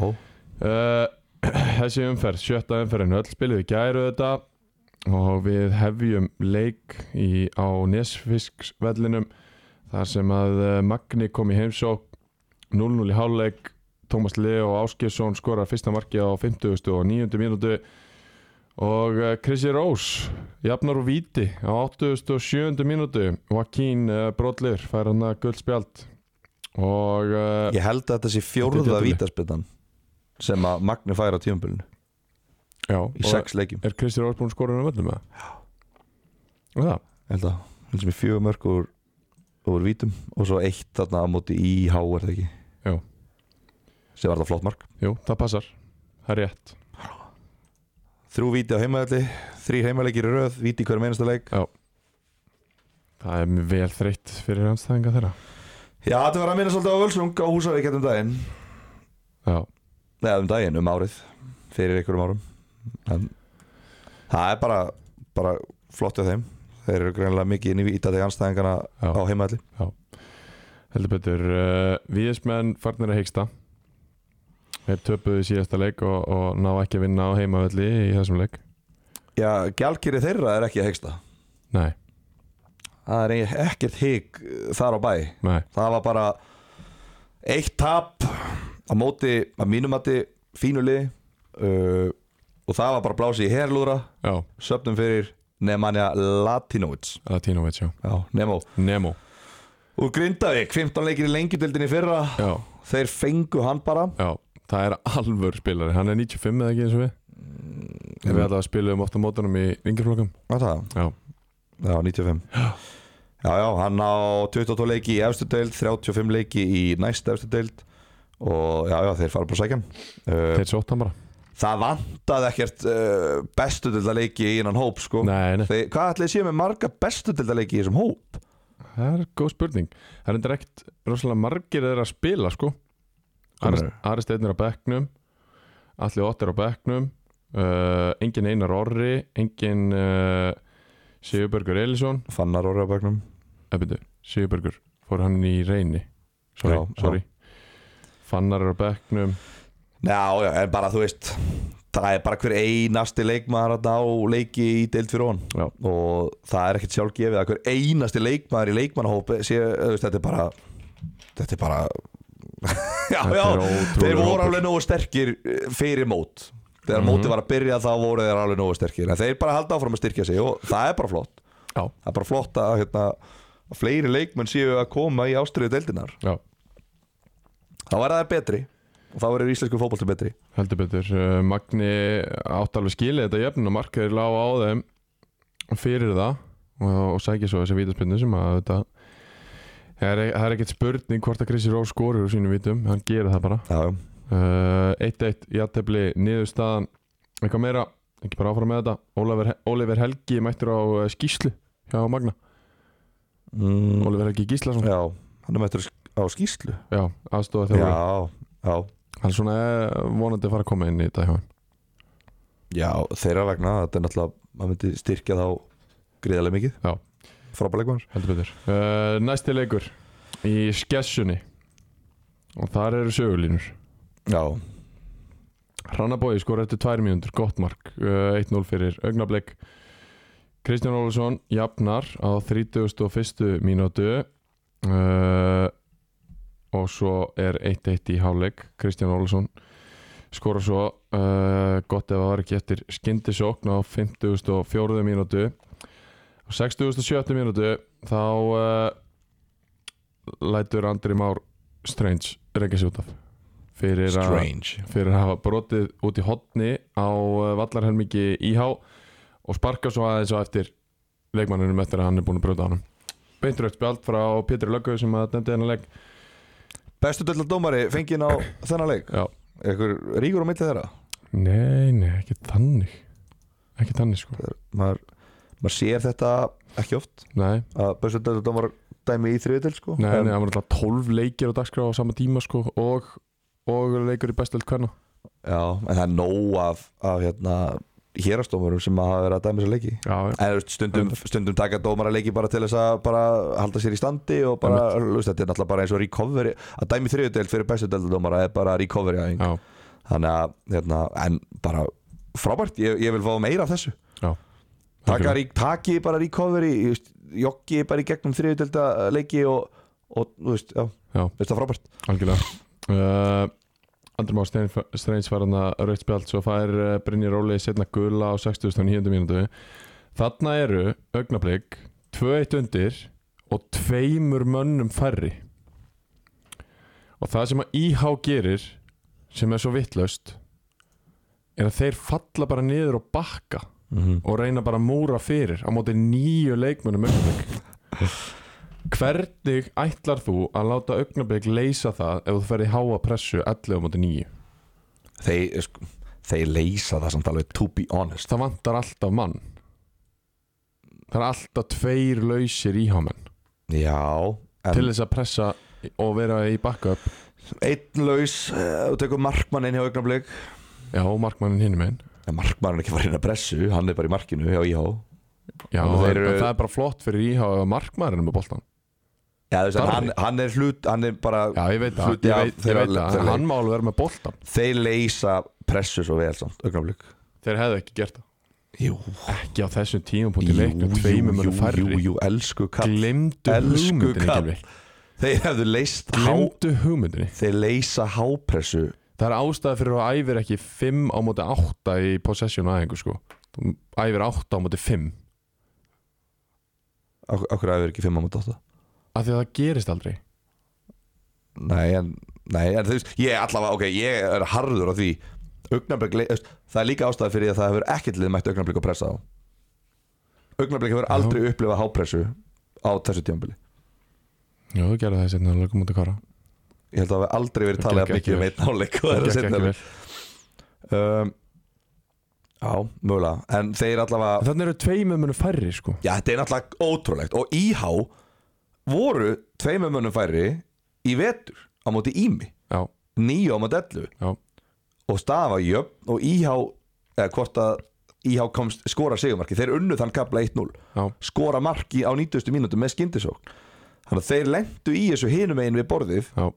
A: Eh, *clears throat* Þessi umferð, sjötta umferðin öll spilið í gæru þetta og við hefjum leik í, á Nesfisksvellinum þar sem að eh, Magni kom í heimsók 0-0 í hálfleik Tómas Leo Áskjesson skorar fyrsta markið á 50. og 90. mínútu og eh, Chrissy Rose jafnar úr víti á 87. mínútu Joaquín eh, Brodlir fær hann að guldspjald og uh,
B: Ég held að þetta sé
A: Þetta
B: fjórða
A: er djöfulli.
B: vítaspillan sem að Magni fær á tíumbölinu
A: já,
B: í
A: og
B: sex leikjum
A: er Chrissy Rose búin að skora hann að völlum með og það,
B: Ég held að held sem er fjögur mörg úr, úr vítum og svo eitt þarna á móti í H er það ekki
A: Já.
B: sem var það flott mark
A: jú, það passar það er rétt
B: Þrjú víti á heimaðalli, þrý heimaðleikir í röð víti í hverjum einasta leik
A: það er vel þreytt fyrir anstæðinga þeirra
B: Já, þetta var að minna svolítið á Völsung á Húsavík hérna um daginn
A: já,
B: Nei, um daginn, um árið fyrir einhverjum árum en það er bara, bara flott á þeim Þeir eru greinilega mikið inn í vítategi anstæðingana
A: Já.
B: á heimaðalli
A: heldur betur uh, Víðismenn farnir að heiksta þeir töpuðu í síðasta leik og, og ná ekki að vinna á heimavölli í þessum leik
B: Já, gjaldkýri þeirra er ekki að hegsta
A: nei,
B: Það er eiginlega ekkert hygg þar á bæ
A: nei,
B: Það var bara eitt tap á móti, að mínum mati fínu liði uh, og það var bara blási í herlúra
A: Já,
B: söpnum fyrir Nemanja Latinovic
A: Latinovic, já
B: Já, Nemo
A: Nemo,
B: Úr Grindavík, 15 leikir í lengjudildinni í fyrra
A: já,
B: Þeir fengu hann bara
A: já Það er alvör spilari, hann er 95 eða ekki eins og við Við
B: Mm.
A: allavega spilum ofta mótunum í yngjaflokkum
B: Var það?
A: Já,
B: Já, 95 Já, já, hann á 22 leiki í efstu deild 35 leiki í næst efstu deild og já, já, þeir fara bara að sækja hann uh,
A: þeir sótt hann bara
B: Það vantaði ekkert uh, bestu deilda leiki í innan hóp sko.
A: Nei, nei,
B: þeir, Hvað ætlaði séu með marga bestu deilda leiki í þessum hóp?
A: það er góð spurning Það er endur ekkert rosalega margir þeir að spila, sko
B: Hvað
A: Ari- Ari Steinn er á bekknum Alli Ott er á bekknum uh, Engin Einar Orri Engin uh, Sigurbergur Elisson
B: Fannar orðið á bæknum
A: Ebbindu, Sigurbergur fór hann í reyni Sorry,
B: Já, já.
A: sorry Fannar er á bekknum
B: Já, já, en bara þú veist það er bara hver einasti leikmaður að ná leiki í deild fyrir hon
A: Já.
B: og það er ekkert sjálfgefið að hver einasti leikmaður í leikmannahópi sé, þú veist, þetta er bara þetta er bara *laughs* já,
A: Þetta
B: já,
A: er ótrúlegur
B: þeir voru
A: hópur.
B: alveg nógu sterkir eh, fyrir mót þegar mótið var að byrja þá voru þeir alveg nógu sterkir en þeir bara halda áfram að styrkja sig og það er bara flott
A: Já,
B: það er bara flott að, hérna, að fleiri leikmenn séu að koma í ástriðu deildinar
A: já,
B: þá er það betri og þá verður íslensku fótbolti betri
A: heldur betur uh, Magni átt alveg skilið þetta jöfn og markaður lág á þeim fyrir það og, og sækja svo þessi vítaspinnu sem að þetta það er, e-, það er ekkert spurning hvort að Krissi Rós skorur úr sínum vítum, hann gerir það bara
B: já, já
A: Uh, 1-1 játefli niðurstaðan eitthvað meira, ekki bara áfram með þetta Ólafur, Ólafur Helgi mættur á eh, skýslu hjá Magna
B: mm.
A: Ólafur Helgi Gíslason
B: Já, hann er mættur á skýslu
A: já, aðstofa þjálfari
B: Já, já,
A: hann er svona eh, vonandi að fara að koma inn í þetta hjá hann
B: já, þeirra vegna þetta er náttúrulega, maður myndi styrkja þá gríðarlega mikið
A: Já.
B: Frábæleikmann
A: heldur betur uh, næsti leikur í skessunni og þar eru sögulínur
B: Já,
A: Hrannabói skor eftir tvær mínútur, gott mark uh, 1-0 fyrir augnablik Kristján Ólafsson jafnar á 31. mínútu uh, og svo er 1-1 í hálfleik Kristján Ólafsson skora svo uh, gott ef það var ekki eftir skyndisókn á 54. mínútu á 67. mínútu þá uh, lætur Andri Már Strange reyngja sig út af fyrir að
B: strange
A: fyrir að hafa brotið út í hotni á eh, vallarhelmingi íhá og sparka svo aðeins á eftir leikmannunum eftir að hann er búin að brjóta á hann beintur eftir spjald frá Pétur Löggau sem að nefndi hennar leik
B: Bestu dölda dómari fengið á þennan leik
A: Já.
B: Ekkur ríkur á milli þeirra
A: Nei, nei, ekki þannig ekki þannig sko
B: Maður, maður sér þetta ekki oft
A: Nei,
B: að bestu dölda dómar dæmi í þriðutil sko
A: nei,
B: En-
A: nei, það var alltaf 12 leikir á dagskrá á sama tíma sko og, og leikur í bestöld hverna
B: Já, en það er nóg af, af hérna, hérastómurum sem hafa verið að dæmi sér leiki
A: Já,
B: En þú veist, stundum, stundum taka dómara leiki bara til þess að bara halda sér í standi og bara, þú veist, þetta er náttúrulega bara eins og recovery að dæmi þriðudeld fyrir bestu deildadómara er bara recovery aðeins
A: já,
B: þannig að, hérna, en bara frábært, ég, ég vil fá meira af þessu
A: já
B: taka, rík, taki bara recovery þú veist, joggi bara í gegnum þriðudelda leiki og, og þú veist, já,
A: Já.
B: veist það frábært
A: Algjörlega uh, Andri Már Stein- Strange var hann að raukt spjald svo fær uh, Brynjar Óli setna gula á 69. mínútu Þarna eru augnablík 2-1 undir og tveimur mönnum færri og það sem að IH gerir sem er svo vittlaust er að þeir falla bara niður og bakka
B: mm -hmm.
A: og reyna bara að múra fyrir á móti nýju leikmönnum augnablik hvernig ætlar þú að láta augnablik leysa það ef þú ferði háa pressu 11 á móti nýju
B: þeir, sko, þeir leysa það samt alveg to be honest
A: það vantar alltaf mann það er alltaf tveir lausir íhámenn
B: já, en
A: til þess að pressa og vera í backup
B: einn laus, eh, þú tekur markmann inn hjá augnablik
A: já, og markmannin hinum einn
B: En markmaðurinn er ekki farinn að pressu, hann er bara í markinu hjá IH
A: já,
B: Þannig
A: það,
B: þeir
A: er,
B: eru-
A: það er bara flott fyrir íhá ef markmannin er með boltan
B: Já, þú veist, en
A: Darri.
B: hann, hann er hlut, hann er bara
A: já, ég veit það,
B: Hluti
A: ég
B: af
A: veit, ég
B: þeirra-
A: veit það.
B: þeirra
A: En hann má alveg vera með boltan
B: Þeir leysa pressu svo vel samt, augnablik
A: þeir hefðu ekki gert það
B: Jú,
A: ekki á þessum tíum punkti leiknum tveimur mönnum færri
B: jú, jú, elsku kall
A: glemdu
B: Elsku
A: hugmyndinni
B: kall.
A: Gylfi
B: Þeir hefðu leist há,
A: Glemdu hugmyndinni
B: Þeir leysa hápressu
A: Það er ástæða fyrir að þú æfir ekki 5 á móti 8 í possession aðeingu sko Þú æfir 8 á móti 5
B: Okkur aðeins ekki 5 á móti 8
A: Af því að það gerist aldrei
B: Nei, en, nei, en þú veist Ég er allavega, ok, ég er harður á því Augnablik, le- þú veist, það er líka ástæða fyrir því að það hefur ekkert lið mætt augnablik og pressa á Augnablik hefur aldrei upplifað hápressu á þessu tjámbili
A: Já, þú gerði það setna að lögum móti kára
B: Ég held að það hefur aldrei verið
A: Það
B: talað
A: gekk ekki
B: jafn mikið um
A: vel.
B: einn hálfleik og það er að
A: gekk
B: setja
A: ekki vel.
B: um, Já, mögulega En þeir allavega
A: En Þannig eru tveimur munum færri sko
B: Já, þetta er náttúrulega ótrúlegt og IH voru tveimur mönnum færri í vetur á móti Ími,
A: Já,
B: nýja á móti ellu
A: já,
B: og stafa jöfn og IH eða hvort að IH komst skora sigumarki, þeir unnu þann kapla 1-0
A: já
B: skora marki á 90. mínútu með skyndisókn þannig að þeir lendu í þessu hinum einn við borðið
A: Já,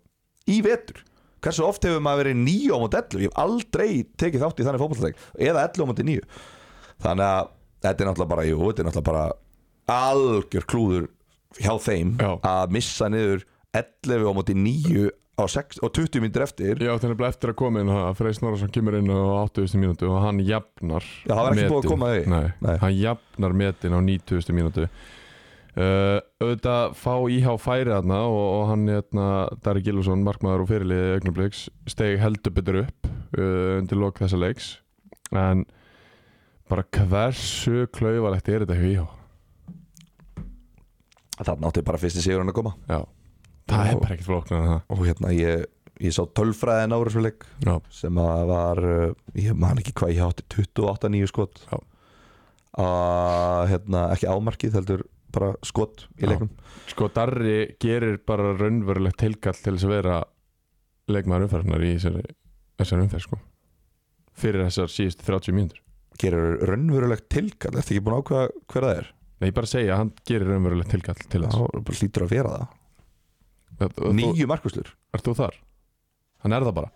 B: í vetur hversu oft hefur maður verið nýja á móti ellu ég hef aldrei tekið þátt í þannig fótballtæk eða ellu á móti nýju þannig að þetta er náttúrulega bara, jú, þetta er náttúrulega bara algjör klúður hjá þeim
A: Já.
B: að missa niður 11 á móti 9 á 6, og 20 mínútur eftir
A: ég átti nefnilega eftir að koma inn að Frey Snorarsson kemur inn á 80. mínútu og hann jafnar
B: Já, það var ekki
A: metin.
B: búið að koma að því.
A: Nei,
B: Nei.
A: hann jafnar metin á 90. mínútu uh, auðvitað fá IH færi þarna og, og hann hérna, Dari Gilvason, markmaður og fyrirliði augnabliks, steg heldur betur upp uh, undir lok þessa leiks en bara hversu klauvalegt er þetta hjá IH
B: þannig átti bara fyrsti sigurinn að koma
A: Já, það
B: Já.
A: er bara ekkert flóknar en það
B: og hérna ég, ég sá tölfræðin ára svo leik
A: Já,
B: sem að var uh, ég man ekki hvað ég átti 28-9 skot
A: Já.
B: að hérna, ekki ámarkið heldur bara skot í
A: Já.
B: leikum
A: sko Darri gerir bara raunverulegt tilkall til þess að vera leikmaður umferðnar í þessari, þessari umferð sko fyrir þessar síðustu 30 mínútur
B: gerir raunverulegt tilkall eftir ekki búin að ákveða hver það er
A: Nei, ég bara segja að hann gerir raunverulegt tilkall til þess
B: þá hlýtur að vera það
A: Er- er þú-
B: nýju markuslur
A: Ert þú þar? Hann er það bara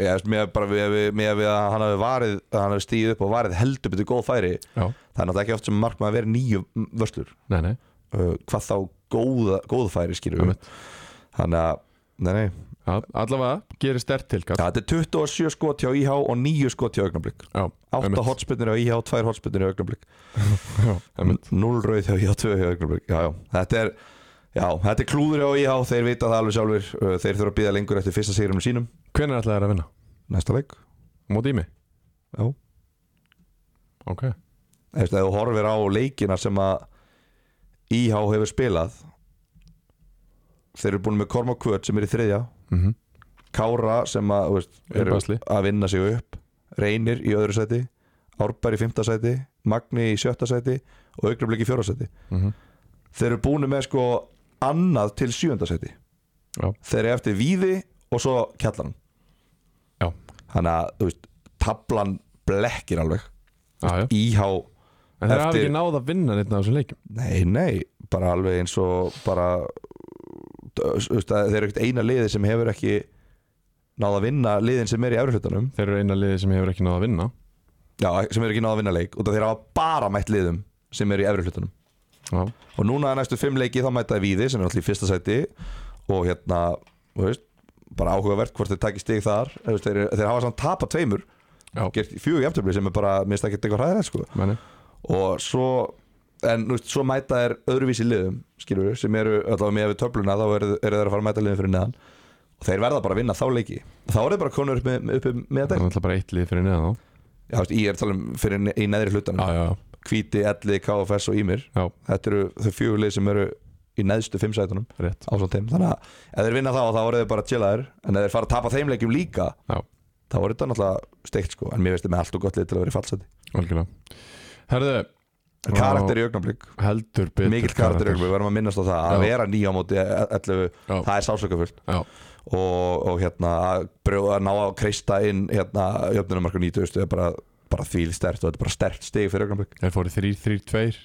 B: ég með bara við, við, með við að hann hafi varið að hann hafi stíð upp og varið heldur betur góð færi
A: Já,
B: það er náttúrulega ekki oft sem markmaður verið nýju vörslur
A: nei, nei
B: uh, hvað þá góða, góð færi skýrur
A: Einmitt.
B: þannig að Nei, nei.
A: ja, Allavega gerir stert tilkall
B: Ja, þetta er 27 skot hjá IH og 9 skot hjá augnablik
A: Já,
B: 8 hotspinnir hjá IH, 2 hotspinnir hjá augnablik
A: einmitt.
B: 0 rauð hjá IH, 2 hjá augnablik já, já. Þetta, er, já, þetta er klúður hjá IH þeir vita það alveg sjálfur Uh, þeir þurfa að býða lengur eftir fyrsta sigurum sínum
A: Hvenær ætlaði þér að vinna?
B: næsta leik
A: Móti í mig?
B: Já.
A: Ok
B: Eftir, ef þú horfir á leikina sem að IH hefur spilað þeir eru búin með Korma Kvöt sem er í þriðja
A: mm -hmm.
B: Kára sem að, þú veist,
A: Í
B: eru
A: basli.
B: að vinna sig upp Reynir í öðru sæti Árbær í fymta sæti Magni í sjötta sæti og Augnablik í fjóra sæti
A: Mhm.
B: þeir eru búin með sko annað til sjönda sæti
A: Já.
B: þeir eru eftir Víði og svo Kjallan
A: Já.
B: þannig að þú veist, tablan blekkir alveg
A: Já, já
B: IH,
A: En það hafa
B: Eftir-
A: ekki náð að vinna neitt af þessum leikjum
B: nei nei bara alveg eins og bara þú veist, að þeir eru ekkert eina liði sem hefur ekki náð að vinna liðin sem er í efrihlutanum
A: Þeir eru eina liði sem hefur ekki náð að vinna
B: Já, sem eru ekki náða að vinna leik og það þeir hafa bara mætt liðum sem eru í efri hlutunum
A: Já,
B: og núna næstu fimm leiki þá mæta þeir Víði sem er alltaf í fyrsta sæti og hérna, þú veist, bara áhugavert hvort þeir takki stig þar Þú veist, þeir, þeir hafa samt tapað tveimur,
A: já,
B: gert fjögur jafntöfli sem er bara, minnst ekki eitthvað hræðir sko.
A: meni
B: og svo en þú veist, svo mæta þeir öðruvísi liðum skilur sem eru, allavega með við töfluna þá eru, eru þeir að fara að mæta liðum fyrir neðan og þeir verða bara að vinna þá leiki þá eru þeir bara konur upp með, upp með
A: Það er
B: þetta
A: náttúrulega bara eitt lið fyrir neðan þá
B: Já, þú veist, ég er að tala um fyrir ne- í neðri hlutanum
A: Já, já,
B: Hvíti, Elli, KFS og Ímir
A: já,
B: Þetta eru þau fjögulið sem eru í neðstu fimm sætunum
A: rétt
B: ásamt þeim Þannig að ef þeir vinna þá þá voru þeir bara chillaðir En ef þeir fara að tapa þeim leikjum líka
A: Já.
B: Þá voru þetta náttúrulega steikt sko En mér veist þeir með allt og gott lið til að vera í fallseti
A: Algjörlega Herðu, Já.
B: Karakter í augnablík
A: heldur betur
B: Mikill karakter í augnablík, við verðum að minnast á það Að
A: Já.
B: vera nýja á móti 11
A: Já.
B: Það er sásökafullt
A: Já,
B: og, og hérna að, brjóða, að ná að kreista inn hérna, Jöfnumarka 90 er bara, bara því stert Og þetta er bara stert stig fyrir augnablík
A: þeir fóru 3-3-2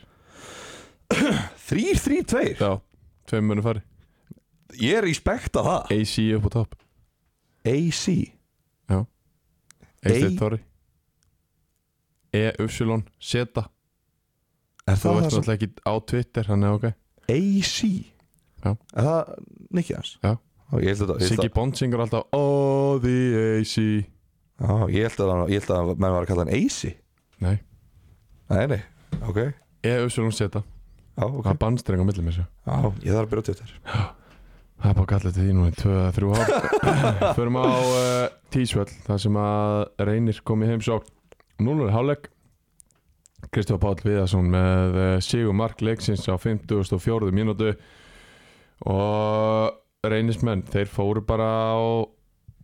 B: Þrýr, þrýr, tveir
A: Já, tveim munum fari
B: Ég er í spekt að það
A: AC upp á topp
B: AC
A: Eitt Þorri E, Upsilon, Zeta
B: Er
A: Þú veist
B: það það sem
A: náttúrulega ekki á Twitter, hann er ok
B: AC
A: Já.
B: Er það Nikki hans
A: Já.
B: og ég held að, ég held
A: Siggi
B: að,
A: Bond syngur alltaf Oh the AC
B: á, ég held að, hann- ég held að menn var að kalla hann Eisi
A: Nei,
B: Nei, nei, ok
A: E-Usulum seta
B: Já, ok
A: E Það er bannstreng á millum þessu
B: Já, ég þarf að byrja á Twitter
A: Það er bara gallið til því núna í 2-3
B: *coughs*
A: hálf Förum á uh, Tísvöll Það sem að reynir komið heim svo Núlur hálfleik Kristof Páll Viðarsson með uh, Sigur Mark leiksins á 54. mínútu Og reynismenn Þeir fóru bara á,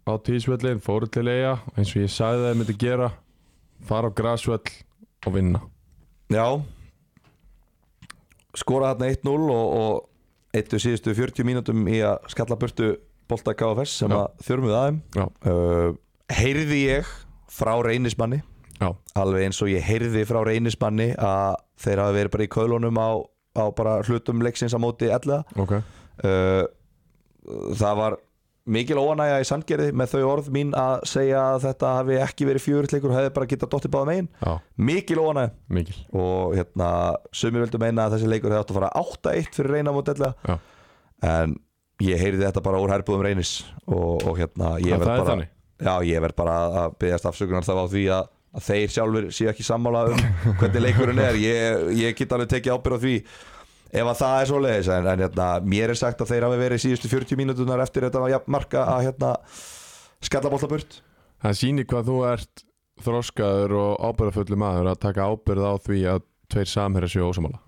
A: á Tísvöllin Fóru til eiga Eins og ég sagði þeir myndi gera Fara á Grasvöll og vinna
B: Já Skora hann 1-0 og, og eittu síðustu 40 mínútum í að skalla burtu bolta KFS sem
A: Já.
B: að þjörmuð aðeim
A: Já.
B: uh, Heyrði ég frá reynismanni
A: Já,
B: alveg eins og ég heyrði frá reynismanni að þeir hafi verið bara í kaulunum á, á bara hlutum leiksins á móti ellega
A: ok
B: uh, það var mikil óanægja í sandgerði með þau orð mín að segja að þetta hafi ekki verið fjörutleikur og hefði bara getað dottið báða megin
A: Já,
B: mikil óanægja
A: mikil
B: og hérna sumir vildu meina að þessi leikur hefði átt að fara 8-1 fyrir reyna móti ellega
A: Já.
B: en ég heyrði þetta bara úr herbúðum reynis og, og hérna ég
A: Það
B: verð
A: er
B: bara,
A: þannig
B: Já, ég verð bara að byggja afsökunar þá á því að, að þeir sjálfur séu ekki sammála um hvernig leikurinn er ég, ég get alveg tekið ábyrð á því ef að það er svoleiðis en, en hérna, mér er sagt að þeir hafi verið síðustu 40 mínútunar eftir þetta var jafn marka að hérna, skalla bólla burt
A: Það sýnir hvað þú ert þroskaður og ábyrðafullu maður að taka ábyrð á því að tveir samherra séu ósamála.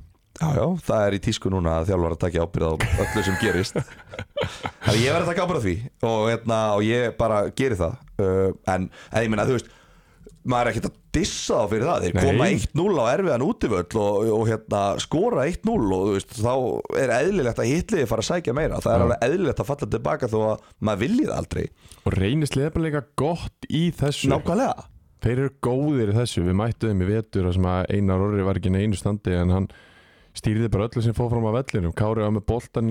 B: Já, já, það er í tísku núna að þjálfar að taka ábyrð á öllu sem
A: *laughs*
B: gerist Þannig ég verð að taka ábyrð á því og, hérna, og ég bara geri það uh, en, en ég meina, þú veist maður er ekkert að dissa þá fyrir það þeir
A: Nei.
B: koma 1-0 á erfiðan útivöll og, og hérna, skora 1-0 og þú veist, þá er eðlilegt að hitliði fara að sækja meira það er
A: Já.
B: alveg eðlilegt að falla tilbaka þó að maður vilji það aldrei
A: Og reynislega er bara líka gott í þessu.
B: Nákvæmlega
A: Þeir eru góðir í þessu. Við mættuðum í vetur þar sem að Einar Orri var ekki í einu standi en hann stýrði bara öllu sem fóð fram á vellinum. Kári var með boltan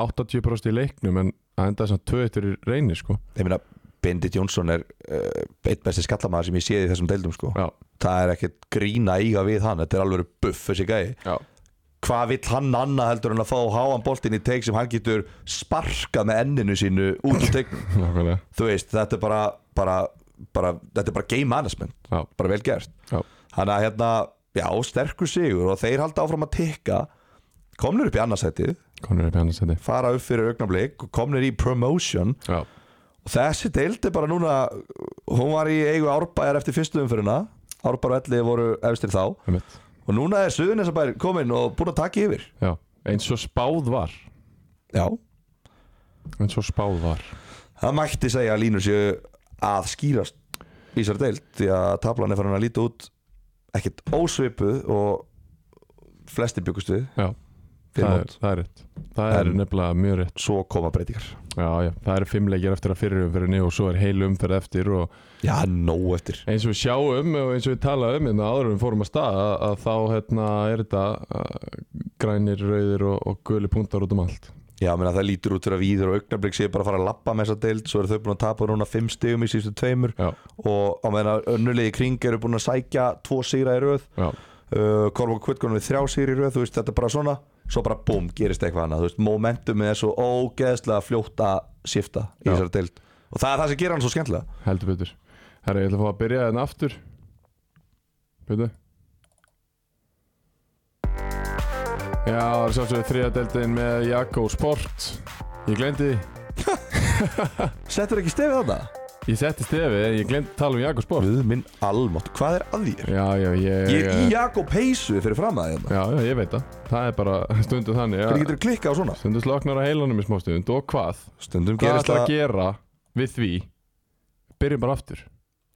A: 80% í leiknum en það endaði samt tvö eittur í reyni sko.
B: Ég meina, Bendit Jónsson er uh, eitt besti skallamæður sem ég séð í þessum deildum sko.
A: Já,
B: það er ekkert grína eiga við hann þetta er alveg buff þessi gæi
A: já.
B: hvað vill hann annað heldur en að fá háan boltinn í teik sem hann getur sparkað með enninu sínu út
A: *clears throat*
B: úr teiknum
A: Nákvæmlega.
B: þú veist, þetta er bara, bara, bara þetta er bara game management
A: Já,
B: bara vel gert
A: já.
B: þannig að hérna, já, sterkur sigur og þeir halda áfram að tikka komnir upp í annarsætið,
A: Konur upp í annars þetta.
B: fara upp fyrir augnablik og komnir í promotion
A: Já,
B: og þessi deild er bara núna hún var í eigu árbæjar eftir fyrstu umfyrirna árbæjar og elli voru efstir þá
A: um mitt.
B: Og núna er Suðunesabær kominn og búinn að taka yfir
A: Já, eins og spáð var.
B: Já
A: Eins og spáð var.
B: Það mætti segja að línur séu að skýrast í sér deild Því að tablan er farin að líta út ekkert ósvipuð og flestir byggust við
A: Já. Það
B: fyrir
A: er,
B: mót
A: það er rétt. Það er
B: En-
A: nefnilega mjög rétt.
B: Svo koma breytingar
A: Já, já, það eru fimm leikir eftir að fyrir umferðinni og svo er heil umferð eftir og
B: Já, nóg eftir
A: eins og við sjáum og eins og við talaðum hérna áður en við fórum að stað að, að þá hérna er þetta að, grænir, rauðir og, og guli punktar út um allt.
B: Já, menna, það lítur út fyrir að víður og augnablik séu bara að fara að lappa með þessa deild Svo eru þau búin að tapa núna fimm stigum í síðustu tveimur
A: Já,
B: Og á meðan að önnulegi kring eru búin að sækja tvo sigra í röð
A: já,
B: uh, Korvok Kvitkonum við þrjá sigri í röð þú veist, þetta er bara svona, svo bara búm, gerist eitthvað annað, þú veist, momentumið er svo ógeðslega fljótt að shifta
A: Já.
B: í þessari deild og það er það sem gerir hann svo skemmtilega
A: heldur betur. Herra, ég ætla að fá að byrja þennan aftur. Byrju. Já, það er sjálfsögðu þriðadeldin með Jakko Sport. Ég glemdi því.
B: Settur ekki stefið þarna?
A: Ég setti stefið en ég glemdi að tala um Jakko Sport.
B: Guð minn almátt, hvað er að þér?
A: Já, já, ég...
B: Ég er í Jakob Peysu fyrir fram að þérna
A: Já, já, ég veit það. Það er bara stundu þannig.
B: Hvernig
A: að
B: getur klikkað á svona?
A: Stundu sloknar á heilanum í smá stund og hvað?
B: Stundum
A: Hvað
B: gerist
A: ætlar
B: það
A: að gera við því? Byrjum bara aftur.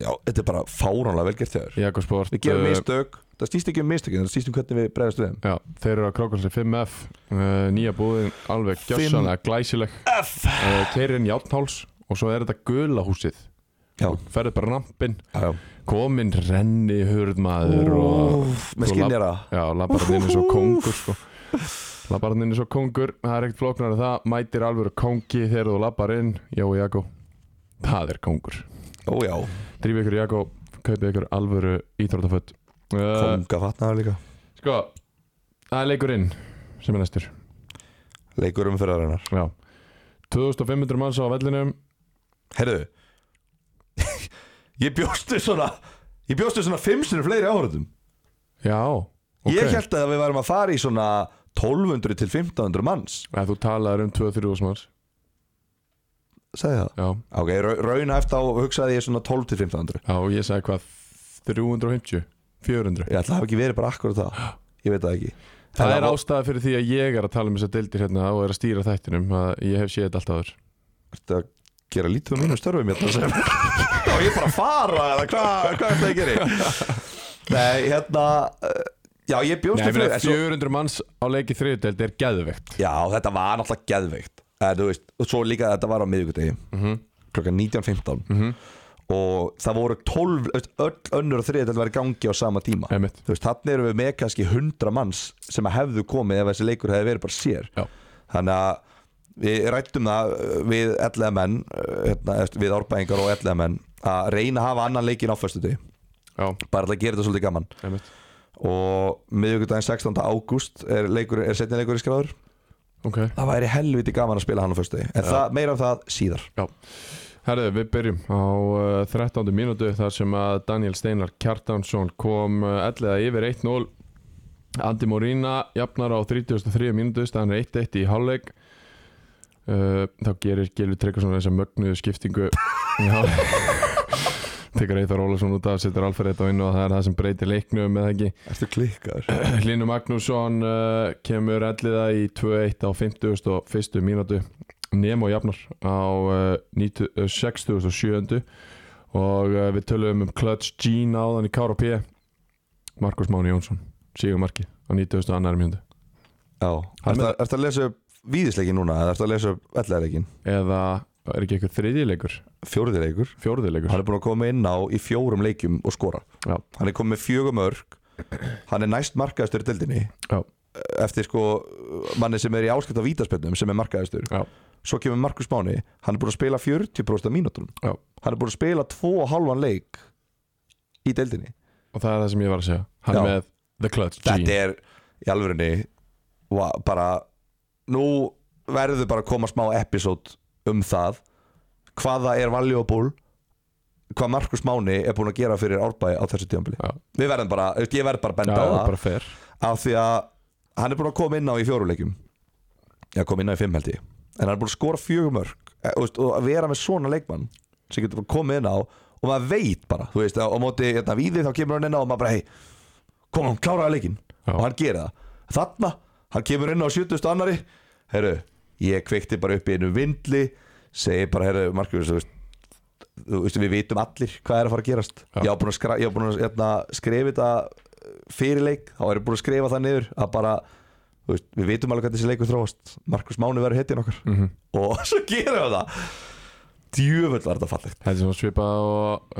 B: Já, þetta er bara fáránlega velgert þér
A: Jakob Sport.
B: Við gerum
A: eh,
B: mistök, það snýst ekki um mistökin það snýst um hvernig við bregðast við þeim
A: Já, þeir eru á Krókalsi 5F. Uh, nýja búðin alveg gjössanlega glæsileg. F! Uh, Keirinn Játnháls og svo er þetta gula húsið.
B: Já,
A: Ferðu bara rampinn,
B: já, já.
A: kominn renni hurðmaður og...
B: Úff, Með
A: þú
B: skinnjara
A: Já, labbar hann inn eins og kongur sko. Labbar hann inn eins og kongur Það er ekkert flóknar en það Mætir alvöru kongi þegar þú labbar inn Jói Jakko Það er kongur
B: Ó já,
A: Drífi ykkur Jakko Kaupið ykkur alvöru íþróttaföld uh,
B: konga fatnaður líka
A: Sko Það er leikurinn Sem er næstur
B: Leikur umferðarinnar
A: Já 2500 manns á vellinum
B: Herðu *laughs* Ég bjóstu svona Ég bjóstu svona fimm sinni fleiri áhörðum
A: Já, ok
B: Ég held að við værum að fara í svona 1200 til 1500 manns
A: Ef þú talaðir um 2-3 úr manns
B: Segði það
A: Já,
B: Ok, raun eftir á hugsaði ég svona 12 til 1500
A: já og ég sagði hvað 350, 400
B: Ég ætla að hafa ekki verið bara akkur það Ég veit það ekki
A: Það
B: En
A: er ástæða fyrir því að ég er að tala um þessar deildir hérna og er að stýra þættinum að ég hef séð þetta alltaf aður
B: Ertu að gera lítið um mínum störfum hérna sem *laughs* Þá ég bara að fara eða hvað hva er það að
A: *laughs*
B: gera Nei, hérna eh, Já, ég
A: Nei,
B: bjóstu
A: ég meina,
B: en svo-
A: 400 manns á leiki þriðdeild er geðvegt
B: Já, þetta var náttúrulega geðveikt en, þú veist, og svo líka að þetta var á miðvikudegi klokkan 19.15 og það voru 12 þú veist, öll önnur og þriðið þetta var í gangi á sama tíma
A: Einmitt.
B: þú veist, þannig erum við með kannski 100 manns sem að hefðu komið ef þessi leikur hefði verið bara sér
A: Já.
B: þannig að við rættum það uh, við ellega menn hérna, eftir- við árbæðingar og ellega menn að reyna að hafa annan leikin á föstu
A: Já,
B: bara til að gera þetta svolítið gaman
A: einmitt
B: og miðvikudaginn 16. ágúst er, leikur, er setni leikur í skráður
A: Ok,
B: það væri helviti gaman að spila hann á föstu en það, meira af það síðar
A: já Herðu, við byrjum á uh, 13. mínútu þar sem að Daniel Steinar Kjartansson kom uh, ellega yfir 1-0 Andi Morína jafnar á 33. mínútu staðan er 1-1 í hálfleik uh, þá gerir Gilvi Tryggvason þessa mögnuðu skiptingu í hálfleik tekur Eithar Ólafsson út af, setur Alfred á inn og það er það sem breytir leiknum eða ekki
B: Ertu klikkar?
A: *clears throat* Hlynur Magnússon uh, kemur elliða í 2-1 á 50 og fyrstu mínútu Nemo jafnar á uh, 90 uh, 60 og 7 og uh, við tölum um Clutch Gene áðan í K.R.P. Markus Máni Jónsson, Sigurmarki á 90 annari mínútu
B: Já
A: Hann
B: Ertu að, ertu að lesa upp víðisleikin núna eða ertu að lesa upp ellarleikin?
A: eða er ekki eitthvað þriðjileikur,
B: Fjóriðileikur
A: fjórðileikur
B: Hann er búin að koma inn á í fjórum leikjum og skora
A: Já.
B: Hann er komið með fjögum örg Hann er næst markaðastur í deildinni
A: Já.
B: Eftir sko manni sem er í áskipt á vítaspennum sem er markaðastur
A: Já.
B: Svo kemur Markus Máni Hann er búin að spila 40% af mínútunum
A: Já.
B: Hann er búin að spila 2,5 leik í deildinni
A: og það er það sem ég var að segja hann
B: Já.
A: með The Clutch
B: Þetta
A: Gene
B: er í alvörunni va- bara nú verður bara að koma smá episode um það hvaða er valuable hvað Markus Máni er búin að gera fyrir árbæði á þessu tíðanbili
A: Já.
B: við verðum bara, þú veist, ég verð bara að
A: Já,
B: benda á
A: það er
B: það
A: bara fer
B: af því að hann er búin að koma inn á í fjóruleikjum já, koma inn á í fimm held ég en hann er búin að skora fjögumörk og að vera með svona leikmann sem getur bara komið inn á og maður veit bara, þú veist, á móti hérna, víði þá kemur hann inn á og maður bara, hei koma, hann kláraði leikinn
A: Já.
B: og hann gerir það þarna, hann kemur inn á 70. annari herru, ég kveikti bara upp í einu vindli segi bara, herru, Markus, þú veist þú veist, við vitum allir hvað er að fara að gerast
A: Já.
B: ég á búin að, skra, ég á búin að hérna, skrifa þetta fyrirleik þá er ég búin að skrifa það niður að bara, þú veist, við vitum alveg hvernig þessi leikur þróast Markus Máni verður hettin okkar *laughs*
A: Mhm.
B: -hmm. og svo gerum við það djöfull var þetta fallegt
A: Þetta er svona svipað á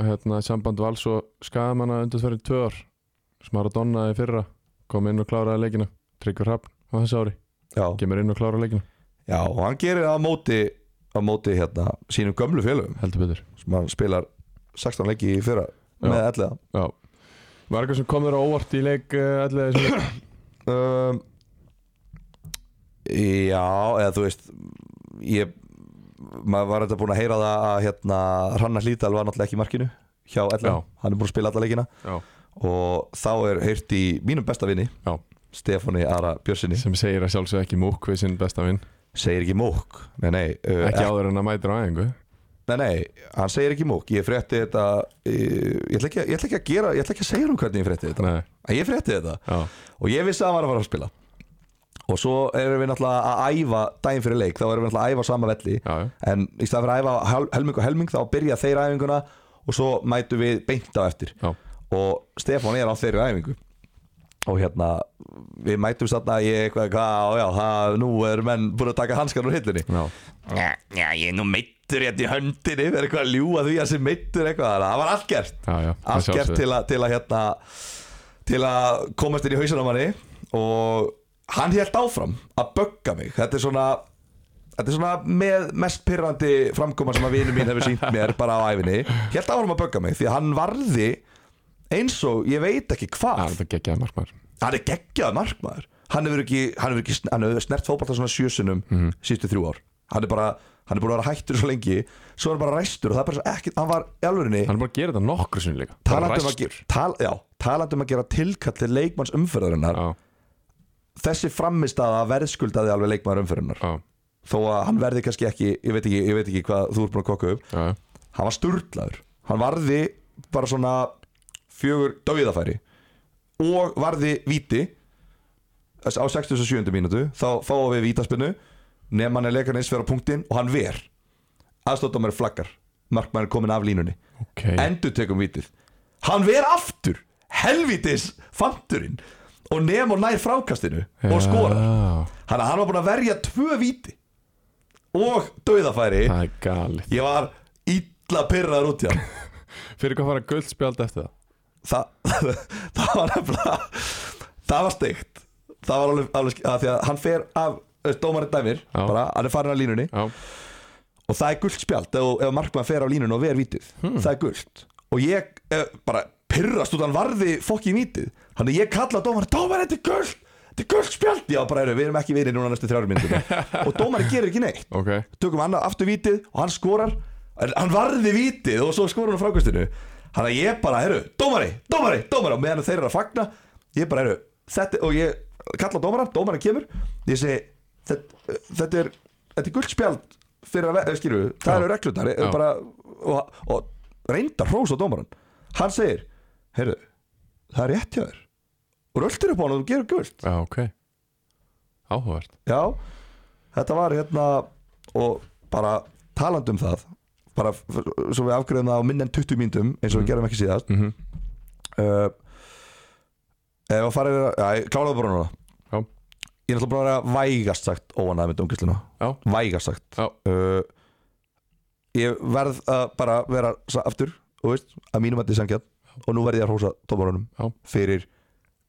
A: hérna, samband vals og skagamanna undir þverjum tvö ár sem Maradona í fyrra kom inn og kláraði leikina Tryggvar Hrafn á þessu ári
B: já.
A: kemur inn og kláraði leikina,
B: já, og hann gerir það á móti á móti hérna, sínum gömlu félögum
A: heldur betur
B: sem hann spilar 16 leiki í fyrra
A: Já.
B: með allega
A: Já Var eitthvað sem kom þér á óvart í leik uh, allir þessum leik?
B: um, Já, eða þú veist ég maður var þetta búin að heyra það að hérna, Rannar Hlítal var náttúrulega ekki í markinu hjá Ella,
A: Já.
B: hann er búin að spila alla leikina
A: Já,
B: og þá er heyrt í mínum besta vinni
A: já,
B: Stefáni Ara Björnsinni
A: sem segir að sjálfsög ekki múk við sinn besta vinn
B: segir ekki mók nei, nei, uh,
A: ekki áður en að mætir á æfingu
B: nei, nei, hann segir ekki mók ég frétti þetta ég, ég, ætla ekki, að- ég ætla ekki að gera, ég ætla ekki að segja um hvernig ég frétti þetta
A: Nei,
B: en ég frétti þetta
A: já,
B: og ég vissi að hann var að fara að spila og svo erum við náttúrulega að æfa daginn fyrir leik, þá erum við náttúrulega að æfa á sama velli
A: já, já,
B: en í stað fyrir að æfa hel- helming og helming þá byrja þeir æfinguna og svo mætum við beint á eftir
A: já,
B: og Stefán er á þeirri æfingu og hérna við mætum þarna í eitthvað, hvað, á, já, það, nú er menn búin að taka hanskan úr hillinni
A: já.
B: já, já, ég er nú meittur hérna í höndinni er eitthvað að ljúa því að sem meittur eitthvað þannig að það var allt gert
A: Já, já, að
B: allt gert
A: sjálfsögðu.
B: til að, til að hérna til að komast inn í hausinn á manni og hann hélt áfram að bögga mig þetta er svona Þetta er svona með mest pyrrandi framkoma sem að vinur mín hefur sínt mér bara á æfinni Helt áfram að bögga mig því að hann varði eins og ég veit ekki
A: Það er
B: hvað
A: þetta geggjaði markmaður
B: Hann er
A: Mhm.
B: geggjað markmaður Hann hefur ekki, hann hefur ekki sn- hann hefur snert fótbolta svona sjösunum mm sístu þrjú ár hann er bara hann er búin að vera hættur svo lengi svo er hann bara ræstur og það er bara svo ekkert hann var í alvörinni
A: Hann er bara að gera þetta nokkru sinni líka Bara
B: talandi um, að,
A: ræstur.
B: ge- tal, já, talandi um að gera tilkall til leikmanns umferðarinnar
A: Já,
B: þessi frammistaða verðskuldaði alveg leikmann umferðarinnar
A: já,
B: þó að hann verði kannski ekki ég veit ekki, ég veit ekki hvað þú ert búin að kokka upp
A: já
B: hann var sturglaður hann varði bara svona fjögur dauðafæri og varði viti Þess- á 67. mínútu þá fáum við vítaspinnu nefn hann er leikarn eins fyrir á punktinn og hann ver aðstóttamæri flaggar markmæri komin af línunni
A: Ok
B: endur tekum vitið hann ver aftur helvitis fanturinn og nefn og nær frákastinu og skorar
A: Já,
B: hann, hann var búin að verja tvö viti og dauðafæri
A: Það er galið
B: Ég var illa pyrraður út í hann
A: Fyrir hvað fara guldspjald eftir það?
B: Þa, *laughs* Það var nefnilega Það var steikt Það var alveg, alveg sk- að því að hann fer af eh, Dómarinn dæmir,
A: Já.
B: bara, hann er farin af línunni
A: Já,
B: Og það er gult spjald Ef, ef markmann fer af línunni og ver vitið Það er gult Og ég eh, bara pyrrast út, hann varði fokki vítið Þannig ég kalla dómarinn, dómarinn þetta er gult Þetta er gult spjald, já bara eru, við erum ekki verið núna næstu þrjár myndum Og dómarinn gerir ekki neitt
A: ok
B: tökum hann aftur vítið og hann skorar en hann varði vítið og svo skorar hann frákastinu hann að ég bara, herru, dómari, dómari, dómari og meðan þeir eru að fagna ég bara, herru, þetta og ég kalla á dómaran, dómaran kemur ég segi, þetta, þetta er þetta er guldspjald fyrir að, ve- eh, skilur við, það
A: Já.
B: eru reglundar
A: Já.
B: bara, og, og reyndar hrós á dómaran hann segir, herru það er rétt hjá þér og röltir upp á hann og þú gerur guld
A: Já, ok Áhugavert
B: Já, þetta var hérna og bara talandi um það bara f- svo við afgreðum það á minn en 20 mínútum eins og við gerum ekki síðast
A: mm
B: uh, Ef að fara yfir að, já, kláraðu bara núna
A: Já.
B: Ég er náttúrulega bara að vera vægast sagt óanæð með dungislinu,
A: Já,
B: vægast sagt
A: Já.
B: uh, Ég verð að bara vera sa- aftur, þú veist, að mínum að þið sangja og nú verð ég að hrósa
A: Já.
B: tómarunum fyrir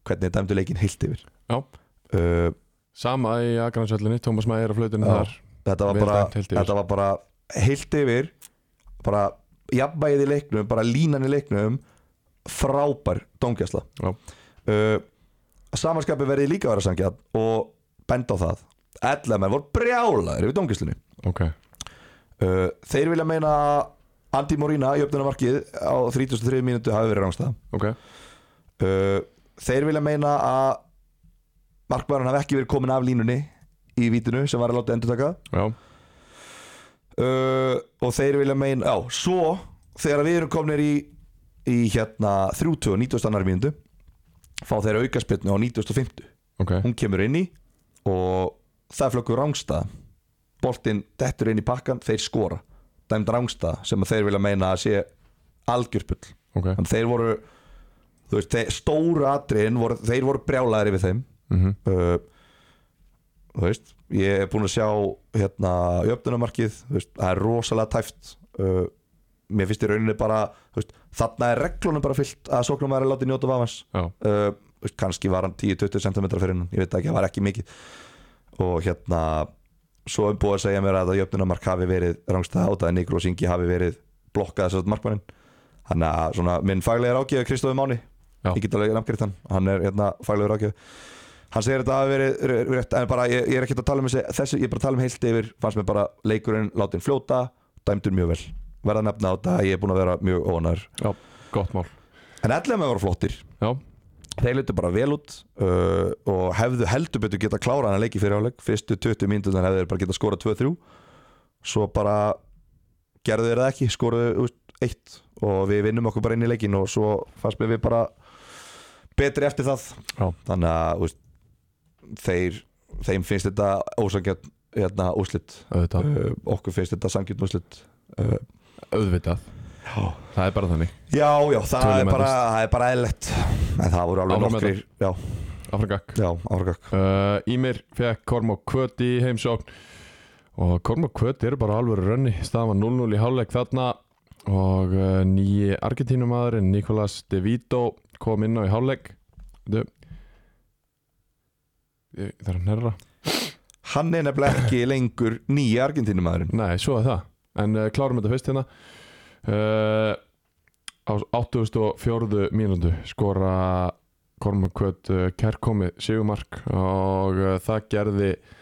B: hvernig dæmdu leikinn heilt yfir
A: já
B: uh,
A: Sama í Akransöllinni, Tómas Mægir á flötunni
B: Já.
A: þar
B: þetta var,
A: Vel
B: bara,
A: dæmt heilt yfir.
B: þetta var bara heilt yfir bara jafnvægið í leiknum bara línan í leiknum frábær dóngjæsla
A: Já.
B: uh, samanskapi verði líka að vera sangjað og benda á það ellemenn voru brjálaðir yfir dóngjæslunni
A: Ok
B: uh, þeir vilja meina að Andi Morína í öfnunamarkið á 33 mínútu hafi verið rángstað
A: Ok,
B: uh, þeir vilja meina að markmaðurinn hafi ekki verið komin af línunni í vítinu sem var að láta endur taka
A: já,
B: uh, og þeir vilja meina já, svo þegar við erum komnir í í hérna 30 og 90 annar mínundu fá þeir aukaspilnu á 90
A: ok
B: hún kemur inn í og það er flökkur rángstað boltinn dettur inn í pakkan, þeir skora dæmd rángstað sem að þeir vilja meina að sé algjörpull
A: Ok,
B: en þeir voru þú veist, þeir, stóra atriðin voru, þeir voru brjálæðir yfir þeim
A: mhm,
B: uh, þú veist ég er búinn að sjá hérna jöfnumarkið, þú veist, það er rosalega tæft uh, mér finnst í rauninni bara þú veist, þarna er reglunum bara fyllt að sóknum er að láta njóta vafans
A: já,
B: uh, þú veist, kannski var hann 10-20 cm fyrir hann, ég veit það ekki, það var ekki mikið og hérna svo er búið að segja mér að jöfnumark hafi verið rangstæða átt að Nikros Ingi hafi verið blokkað þessart markmannin þannig að svona, minn faglega rákjöf Kristofi Máni
A: Já.
B: ég get alveg nafngriðt hann, hann er hérna faglegur ákjöf hann segir þetta hafi verið r- r- rétt, en bara ég, ég er ekkert að tala um þessi, þessi ég er bara að tala um heilt yfir, fannst mér bara leikurinn látin fljóta, dæmdur mjög vel verða að nefna á þetta, að ég er búin að vera mjög óanar
A: já, gott mál
B: en allir með voru flottir,
A: Já,
B: þeir lutu bara vel út uh, og hefðu heldur betur geta klára hann að leiki fyrir áleik, fyrstu 20 mínútur hefðu þeir bara geta skorað 2-3 svo bara gerðu þeir það ekki skoruðu úst eitt og við vinnum okkur bara inn í leikin og svo fannst mér við bara betri eftir það
A: Já.
B: þannig að úst, þeir, þeim finnst þetta ósangjarn hérna, úslit
A: auðvitað,
B: uh, okkur finnst þetta sangjarn úslit uh,
A: auðvitað
B: já
A: Það er bara þannig
B: Já, já, það
A: Tölum
B: er
A: að
B: bara,
A: fyrst.
B: það er bara eðlegt En það voru alveg
A: Áfram með
B: nokkrir Já,
A: Afrikak
B: já, árgak
A: uh, Ímir fekk Kormák Kvöt í heimsókn og Kormák Kvöt eru bara alvöru rönni staðan var 0-0 í hálfleik þarna og uh, nýji Argentínumadurinn Nicolas De Vito kom inn á í hálfleik Þú Ég þarf að nærra
B: Hann er nefnilega *coughs* ekki lengur nýja Argentínumæðurinn
A: Nei, svo er það En uh, klárum þetta fyrst hérna uh, Á 84. mínútu skora eh, Kormakvöt uh, kærkomi sigumark og uh, það gerði eh,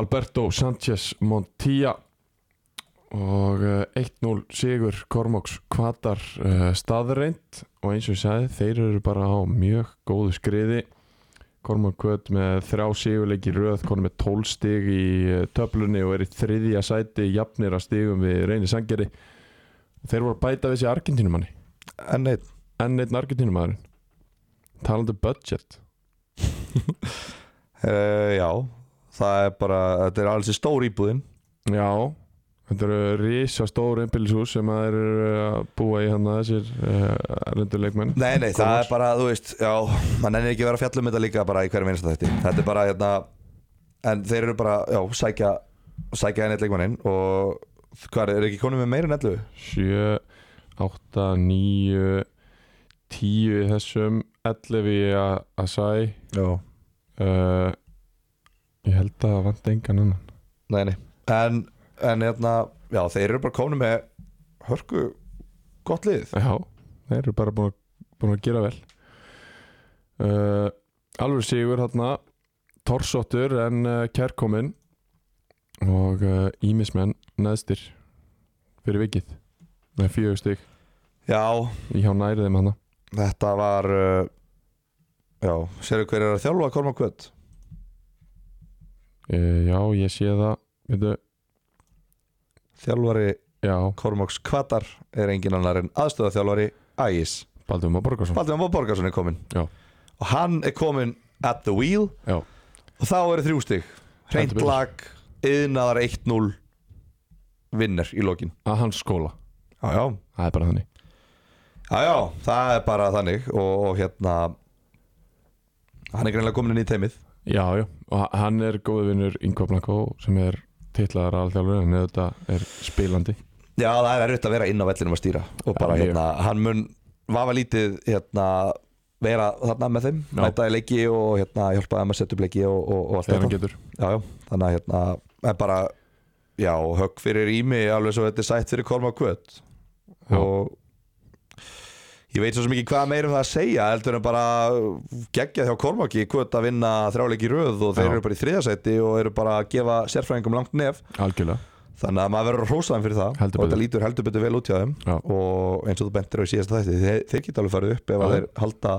A: Alberto Sanchez Montilla og eh, 1-0 sigur Kormoks kvatar uh, staðreind og eins og ég sagði þeir eru bara á mjög góðu skriði Kormok kvöt með þrjá sigurleiki í röð konum með 12 stig í eh, töflunni og er í þriðja sæti jafnir að stigum við reynir sangeri og þeir voru að bæta við þessi Argentínumanni
B: En neitt
A: enn einn Argentínumaðurinn talandi um budget
B: uh, Já, það er bara Þetta er alls í stór íbúðin
A: já þetta eru risa stór einbílishús sem að eru að búa í hann að þessir uh, erlenduleikmenn
B: Nei, nei, það
A: Komast.
B: er bara, þú veist, já mann ennir ekki að vera að fjalla um þetta líka bara í hverjum einasta þetta Þetta er bara, hérna En þeir eru bara, já, sækja Sækja henni leikmanninn og Hvað, er ekki konum með meira en 11?
A: 7, 8, 9 10 í þessum 11 í að að sæ
B: Já
A: uh, ég held að það vant engan annan
B: Nei, nei En, en hérna, já, þeir eru bara konum með Hörku, gott lið
A: já, þeir eru bara búin að, búin að gera vel uh, alveg sigur hérna torsóttur en uh, kærkomin og uh, ímismenn neðstir fyrir vikið með fjögur stygg
B: Já,
A: hjá nærið þeim hana
B: Þetta var uh, Já, sérðu hver er að þjálfa Korma Kvöld?
A: uh, já, ég sé það veitu,
B: Þjálfari
A: já,
B: Kormoks Kvatar er engin annar en aðstöðaþjálfari Ægis
A: Baldur Már Borgarsson
B: Baldur Már Borgarsson er kominn
A: Já.
B: Og hann er kominn at the wheel
A: Já.
B: Og þá eru þrjú stig Hreint
A: Heldur betur.
B: lag, yðnaðar 1-0 Vinner í lokin
A: að hans skóla
B: Já, já
A: það er bara þannig
B: Já, já, það er bara þannig Og, og hérna Hann er greinlega kominn inn í teimið
A: já, já, og h- hann er góðu vinnur Ingo Blanco sem er titlaðar alþjálfur en þetta er spilandi
B: Já, það er erfitt að vera inn á vellinum að stýra og bara
A: Já, mjög.
B: hérna, hann mun vafa lítið hérna, vera þarna með þeim
A: Já.
B: mæta í leiki og hérna, hjálpa þeim að setja upp leiki og, og, og allt
A: þegar hann
B: þetta
A: getur
B: já, já, þannig að hérna, er bara já, högg fyrir ími alveg svo þetta er sætt fyrir Korma Kvöt
A: Já.
B: og ég veit svo sem ekki hvað meirum það að segja heldur en bara geggjað hjá Kormaki Kvöt að vinna þrjáleiki í röð og þeir
A: Já.
B: eru bara í þriðasæti og eru bara að gefa sérfræðingum langt nef
A: algjörlega
B: Þannig að maður verður hrósaðan fyrir það
A: Heldur
B: og þetta
A: betur.
B: lítur heldur betur vel út hjá þeim
A: Já.
B: og eins og þú bentir á í síðasta þætti þeir, þeir geta alveg farið upp ef
A: Já.
B: að þeir halda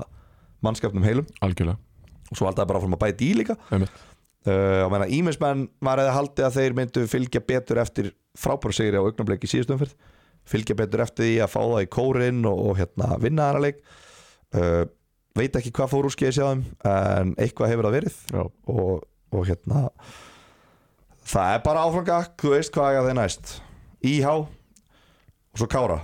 B: mannskapnum heilum
A: algjörlega
B: og svo halda þeir bara fram að bæta í líka
A: Einmitt.
B: uh, og meina ímismenn var eða haldið að þeir myndu fylgja betur eftir frábæra sigri á augnableik í síðustu umferð fylgja betur eftir því að fá það í kórin og, og hérna vinna þarna leik uh, veit ekki hvað fór úr skeið sjá þeim en eitthvað hefur það verið
A: Já.
B: og, og hérna það er bara áframgak þú veist hvað er þeir næst Íhá og svo Kára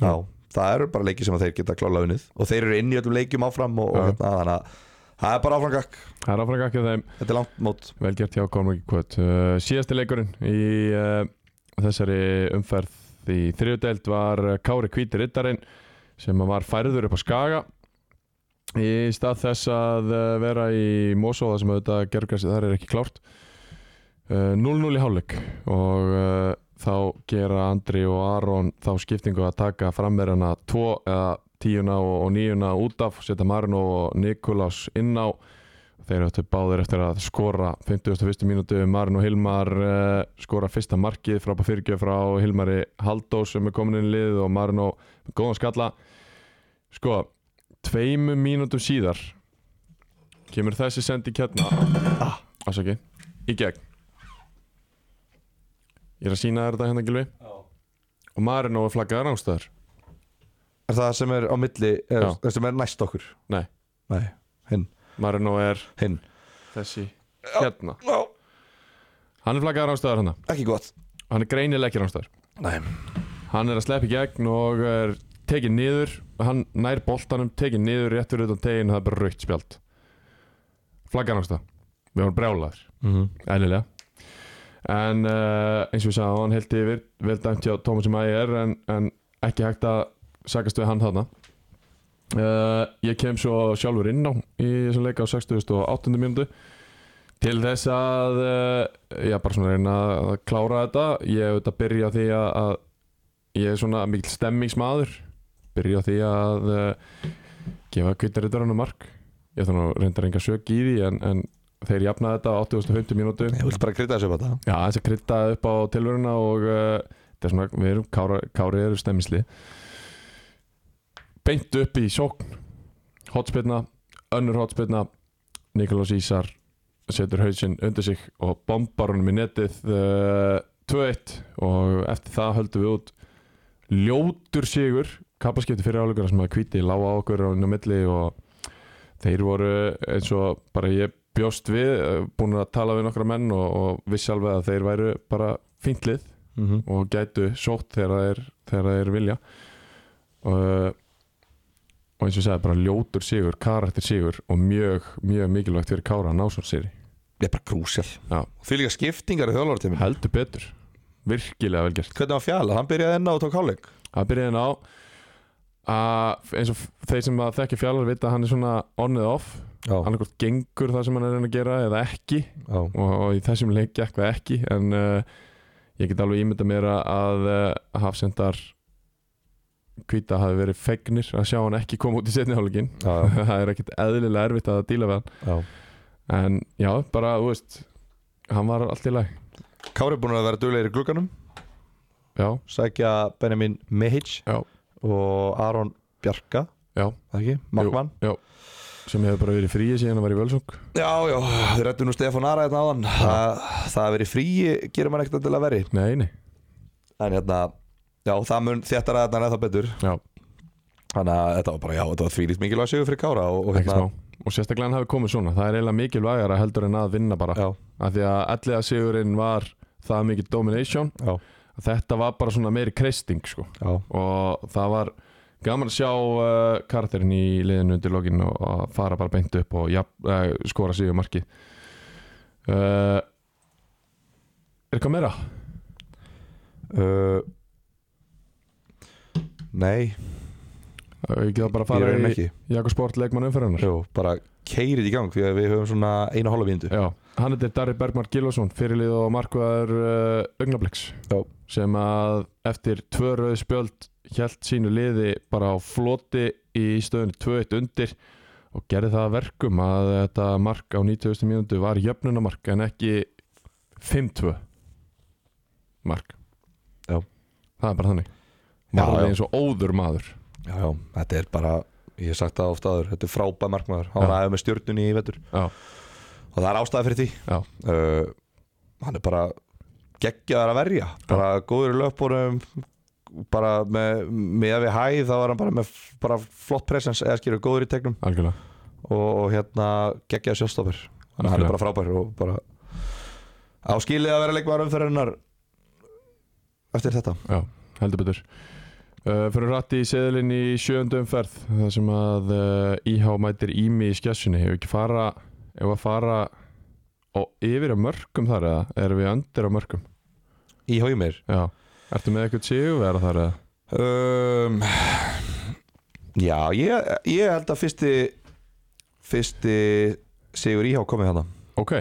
B: já, það eru bara leiki sem að þeir geta klála unnið og þeir eru inn í öllum leikjum áfram og, og
A: Já.
B: hérna, þannig að það er bara áframgak
A: það er áfram ekki þeim
B: þetta er langt mót
A: velgjart hjá Kormaki Kvöt uh, síðasti leikurinn í uh, þessari umferð í þriðudeld var uh, Kári Kvíti Rittarinn sem var færður upp á Skaga í stað þess að uh, vera í Mosóða sem auðvitað gergast þar er ekki klárt uh, 0-0 í hálfleik og uh, þá gera Andri og Aron þá skiptingu að taka framverjana 2 eða 10 og, og 9 út af, setja Marino og Nikolás inn á Þeir áttu báðir eftir að skora 51. mínútu, Marin og Hilmar uh, skora fyrsta markið frá fyrirgjöf frá Hilmari Haldó sem er komin inn í lið og Marin og góðan skalla Sko, tveimum mínútum síðar kemur þessi sendi kjarna ah. Ásaki, í gegn Ég er að sína þér þetta hérna Gilvi og Marin og flaggaði rángstöður
B: er það sem er á milli er,
A: Já.
B: er sem er næst okkur
A: Nei,
B: Nei, hinn,
A: Marin og er
B: hinn
A: þessi hérna
B: já,
A: Hann er flaggaði rángstöður hérna,
B: ekki gott
A: hann er greinileg ekki rángstöður
B: Nei.
A: Hann er að sleppa í gegn og er tekinn niður Hann nær boltanum, tekinn niður rétt fyrir utan teginn Það er bara raukt spjald Flaggar hans það Við vorum brjálaður,
B: Mhm.
A: eðlilega En uh, eins og við sagðum, hann held yfir Vel dæmt hjá Tómasi Mæger en, en ekki hægt að sakast við hann þarna uh, Ég kem svo sjálfur inn á Í þessum leika á 68. mínútu Til þess að uh, Já, bara svona reyna að klára þetta Ég hef auðvitað byrja því að, að ég er svona mikil stemmingsmaður byrja á því að eh, uh, gefa kvittarritarunum mark ég ætla nú reyndar enga sök í því en, en þeir jafnaði þetta á 8050 mínútu
B: Ég vil bara krydda þessu upp á þetta
A: Já, þess að krytta upp á tilvöruna og uh, það er svona, við erum kára, kári eru stemmisli beint upp í sókn hotspilna, önnur hotspilna Nikolás Ísar setur hausinn undir sig og bombar honum í netið uh, 2-1 og eftir það höldum við út ljótur sigur kappaskipti fyrir áleikana sem að kvíti lága á okkur á inn á milli og þeir voru eins og bara ég bjóst við, búin að tala við nokkra menn og, og vissi alveg að þeir væru bara fínt lið
B: Mhm.
A: og gætu sótt þegar þeir, þegar þeir vilja og, og eins og ég sagði bara ljótur sigur, karakter sigur og mjög, mjög mikilvægt fyrir Kára að ná svona séri
B: Ég er bara krúsjál
A: Já.
B: Því líka skiptingar í þjálfartíminu
A: heldur betur, virkilega vel gert
B: Hvernig var fjala? Hann byrjaði enna og tók hálfleik
A: Það byrjaði hann á að eins og þeir sem að þekki fjallar vita að hann er svona on and off
B: Já,
A: annarkort gengur það sem hann er að reyna að gera eða ekki
B: já
A: og, og í þessum leik gekk það ekki en uh, ég get alveg ímynda mér að- að uh, hafsendar hvita hafi verið fegnir að sjá hann ekki koma út í setni hálfleikin
B: Já,
A: *laughs* það er ekkit eðlilega erfitt að díla við
B: já
A: hann en já, bara, þú veist hann var allt í lag
B: Kári er búin að vera duglegir í glugganum
A: já,
B: Sækja Benjamin Mehic
A: Já.
B: Og Aron Bjarka
A: já,
B: Það ekki? Markmann
A: sem hefur bara verið fríið síðan að var í Völsung
B: Já, já Við rættum nú Stefán Ara hérna áðan Það, það að vera í fríi gerir mann ekkert endilega verri
A: nei, nei,
B: En hérna Já, það mun þéttara þetta en eða betur
A: já,
B: Þannig að þetta var bara, já, þetta var þvílíkt mikilvæg sigur fyrir Kára og, hérna- og
A: ekki smá og sérstaklega hann hafi komið svona, það er eiginlega mikilvægara heldur en að vinna bara
B: Já,
A: af því að allega sigurinn var það mikið domination
B: já,
A: að þetta var bara svona meiri kreisting sko.
B: já
A: og það var gaman að sjá uh, karakterin í liðinu undir lokin og að fara bara beint upp og jafn, uh, skora sigur marki uh, er eitthvað meira?
B: uh, Nei,
A: Uh, Ég geta bara að
B: ég
A: fara
B: reyna
A: í
B: ekki
A: Jakobsport leikmann umferðunar
B: Jú, bara keirið í gang því að við höfum svona eina hálfa vindu
A: Já, hann heitir Darri Bergmar Gilvason fyrirlið og markvæður uh, augnabliks
B: Já.
A: sem að eftir tvö rauð spjöld hjælt sínu liði bara á floti í stöðunni 2-1 undir og gerði það að verkum að þetta mark á 90. mínútu var jöfnunamark en ekki 5-2 mark
B: Já.
A: Það er bara þannig
B: Já, já.
A: Varði eins og óður maður
B: Já, já, þetta er bara, ég hef sagt það ofta aður Þetta er frábæð markmaður, hann var
A: Já.
B: aðeins með stjörnunni í vetur
A: Já,
B: Og það er ástæði fyrir því
A: já,
B: uh, Hann er bara geggjaðar að verja Bara góður í löpunum Bara með, með að við hæð Þá var hann bara með f- bara flott presens Eða skilur góður í tegnum
A: algjörlega
B: og, og hérna geggjaðar sjálfstofur Þannig að hann er bara frábær og bara Á skilið að vera leikmaður umferðarinnar Eftir þetta
A: Já, heldur betur uh, Fyrir rætti í seðlinn í sjöundu umferð Það sem að uh, IH mætir Ími í skessunni Hefur ekki fara Hefur að fara og yfir að mörgum þar eða? Erum við öndir að mörgum?
B: Í haumir
A: Já Ertu með eitthvað sigurverða þar eða?
B: um, Já, ég, ég held að fyrsti fyrsti Sigur Íhá komið hana
A: Ok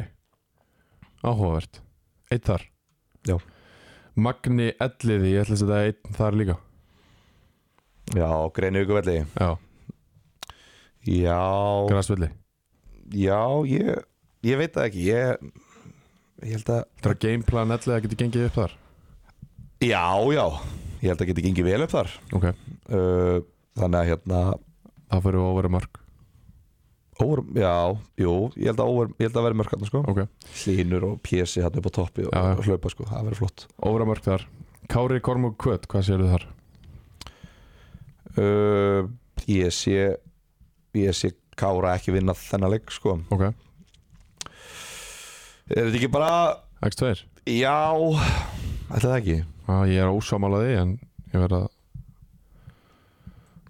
A: Áhugavert Eitt þar
B: Já.
A: Magni Elliði, ég ætla að setja einn þar líka
B: Já, greinu ykkur velli
A: Já,
B: Já,
A: græsvilli
B: já ég, ég veit það ekki ég, ég held að
A: Þetta er að gameplan Elliði að geta gengið upp þar
B: Já, já, ég held að geti gengið vel upp þar
A: Ok,
B: uh, Þannig að hérna
A: það fyrir óveru mörg
B: Over, já, jú, ég held að, over, ég held að vera mörk hann sko
A: Ok
B: Hlínur og pési hann upp á toppi og,
A: Já, já.
B: og hlaupa sko, það verður flott
A: Óvera mörg þar Kári Kormúk Kvöt, hvað sérðu þar?
B: uh, ég sé ég sé Kára ekki vinna þennan leik sko.
A: Ok,
B: er þetta ekki bara
A: X2
B: já, ætla það ekki
A: ah, Ég er ósámála því en ég verð að,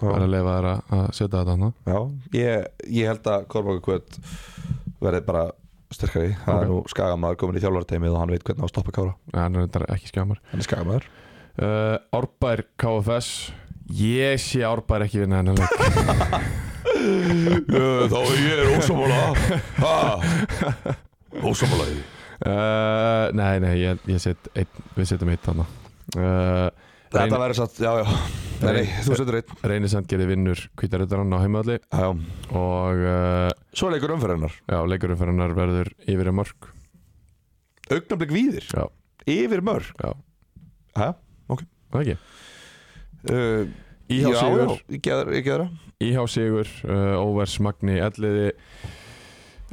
A: verð
B: já,
A: að leifa þér að að setja þetta hana
B: já. Ég, ég held að Kormáka Kvöt verði bara sterkari það
A: Ok.
B: er nú skagamæður komin í þjálfarteimið og hann veit hvernig á að stoppa Kára
A: En þetta er ekki skjámar
B: hann er *laughs* skagamæður
A: uh, Árbær KFS Ég sé Árbær ekki vinna hennar
B: *laughs*
A: leik
B: þá ég er ósamála ósamála
A: uh, Nei, nei, ég, ég set einn, við setjum eitt hana uh,
B: þetta
A: Reyn-
B: verður satt, já já Nei, nei, þú setur einn
A: Reyni Sandgerði vinnur kvítaröðarann á heimaðalli
B: Já.
A: og uh,
B: Svo er leikur umferðinnar
A: já, leikurumferðarnar verður yfir að mörg
B: Augnablik víðir,
A: Já,
B: yfir mörg
A: já,
B: Hæ?
A: það ekki
B: Uh,
A: Íhá
B: já,
A: sigur,
B: já, Ekki aðra- ekki aðra
A: Íhá sigur uh, Óvers Magni Elliði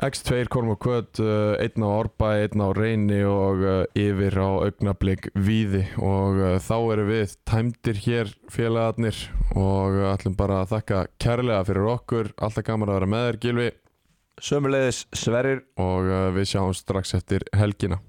A: X2 Korm og Kvöt uh, einn á Orba, einn á Reyni og uh, yfir á augnablik Víði og uh, þá eru við tæmdir hér félagarnir og uh, ætlum bara að þakka kærlega fyrir okkur, alltaf gaman að vera með þér Gilvi
B: Sömulegðis Sverrir
A: og uh, við sjáum strax eftir helgina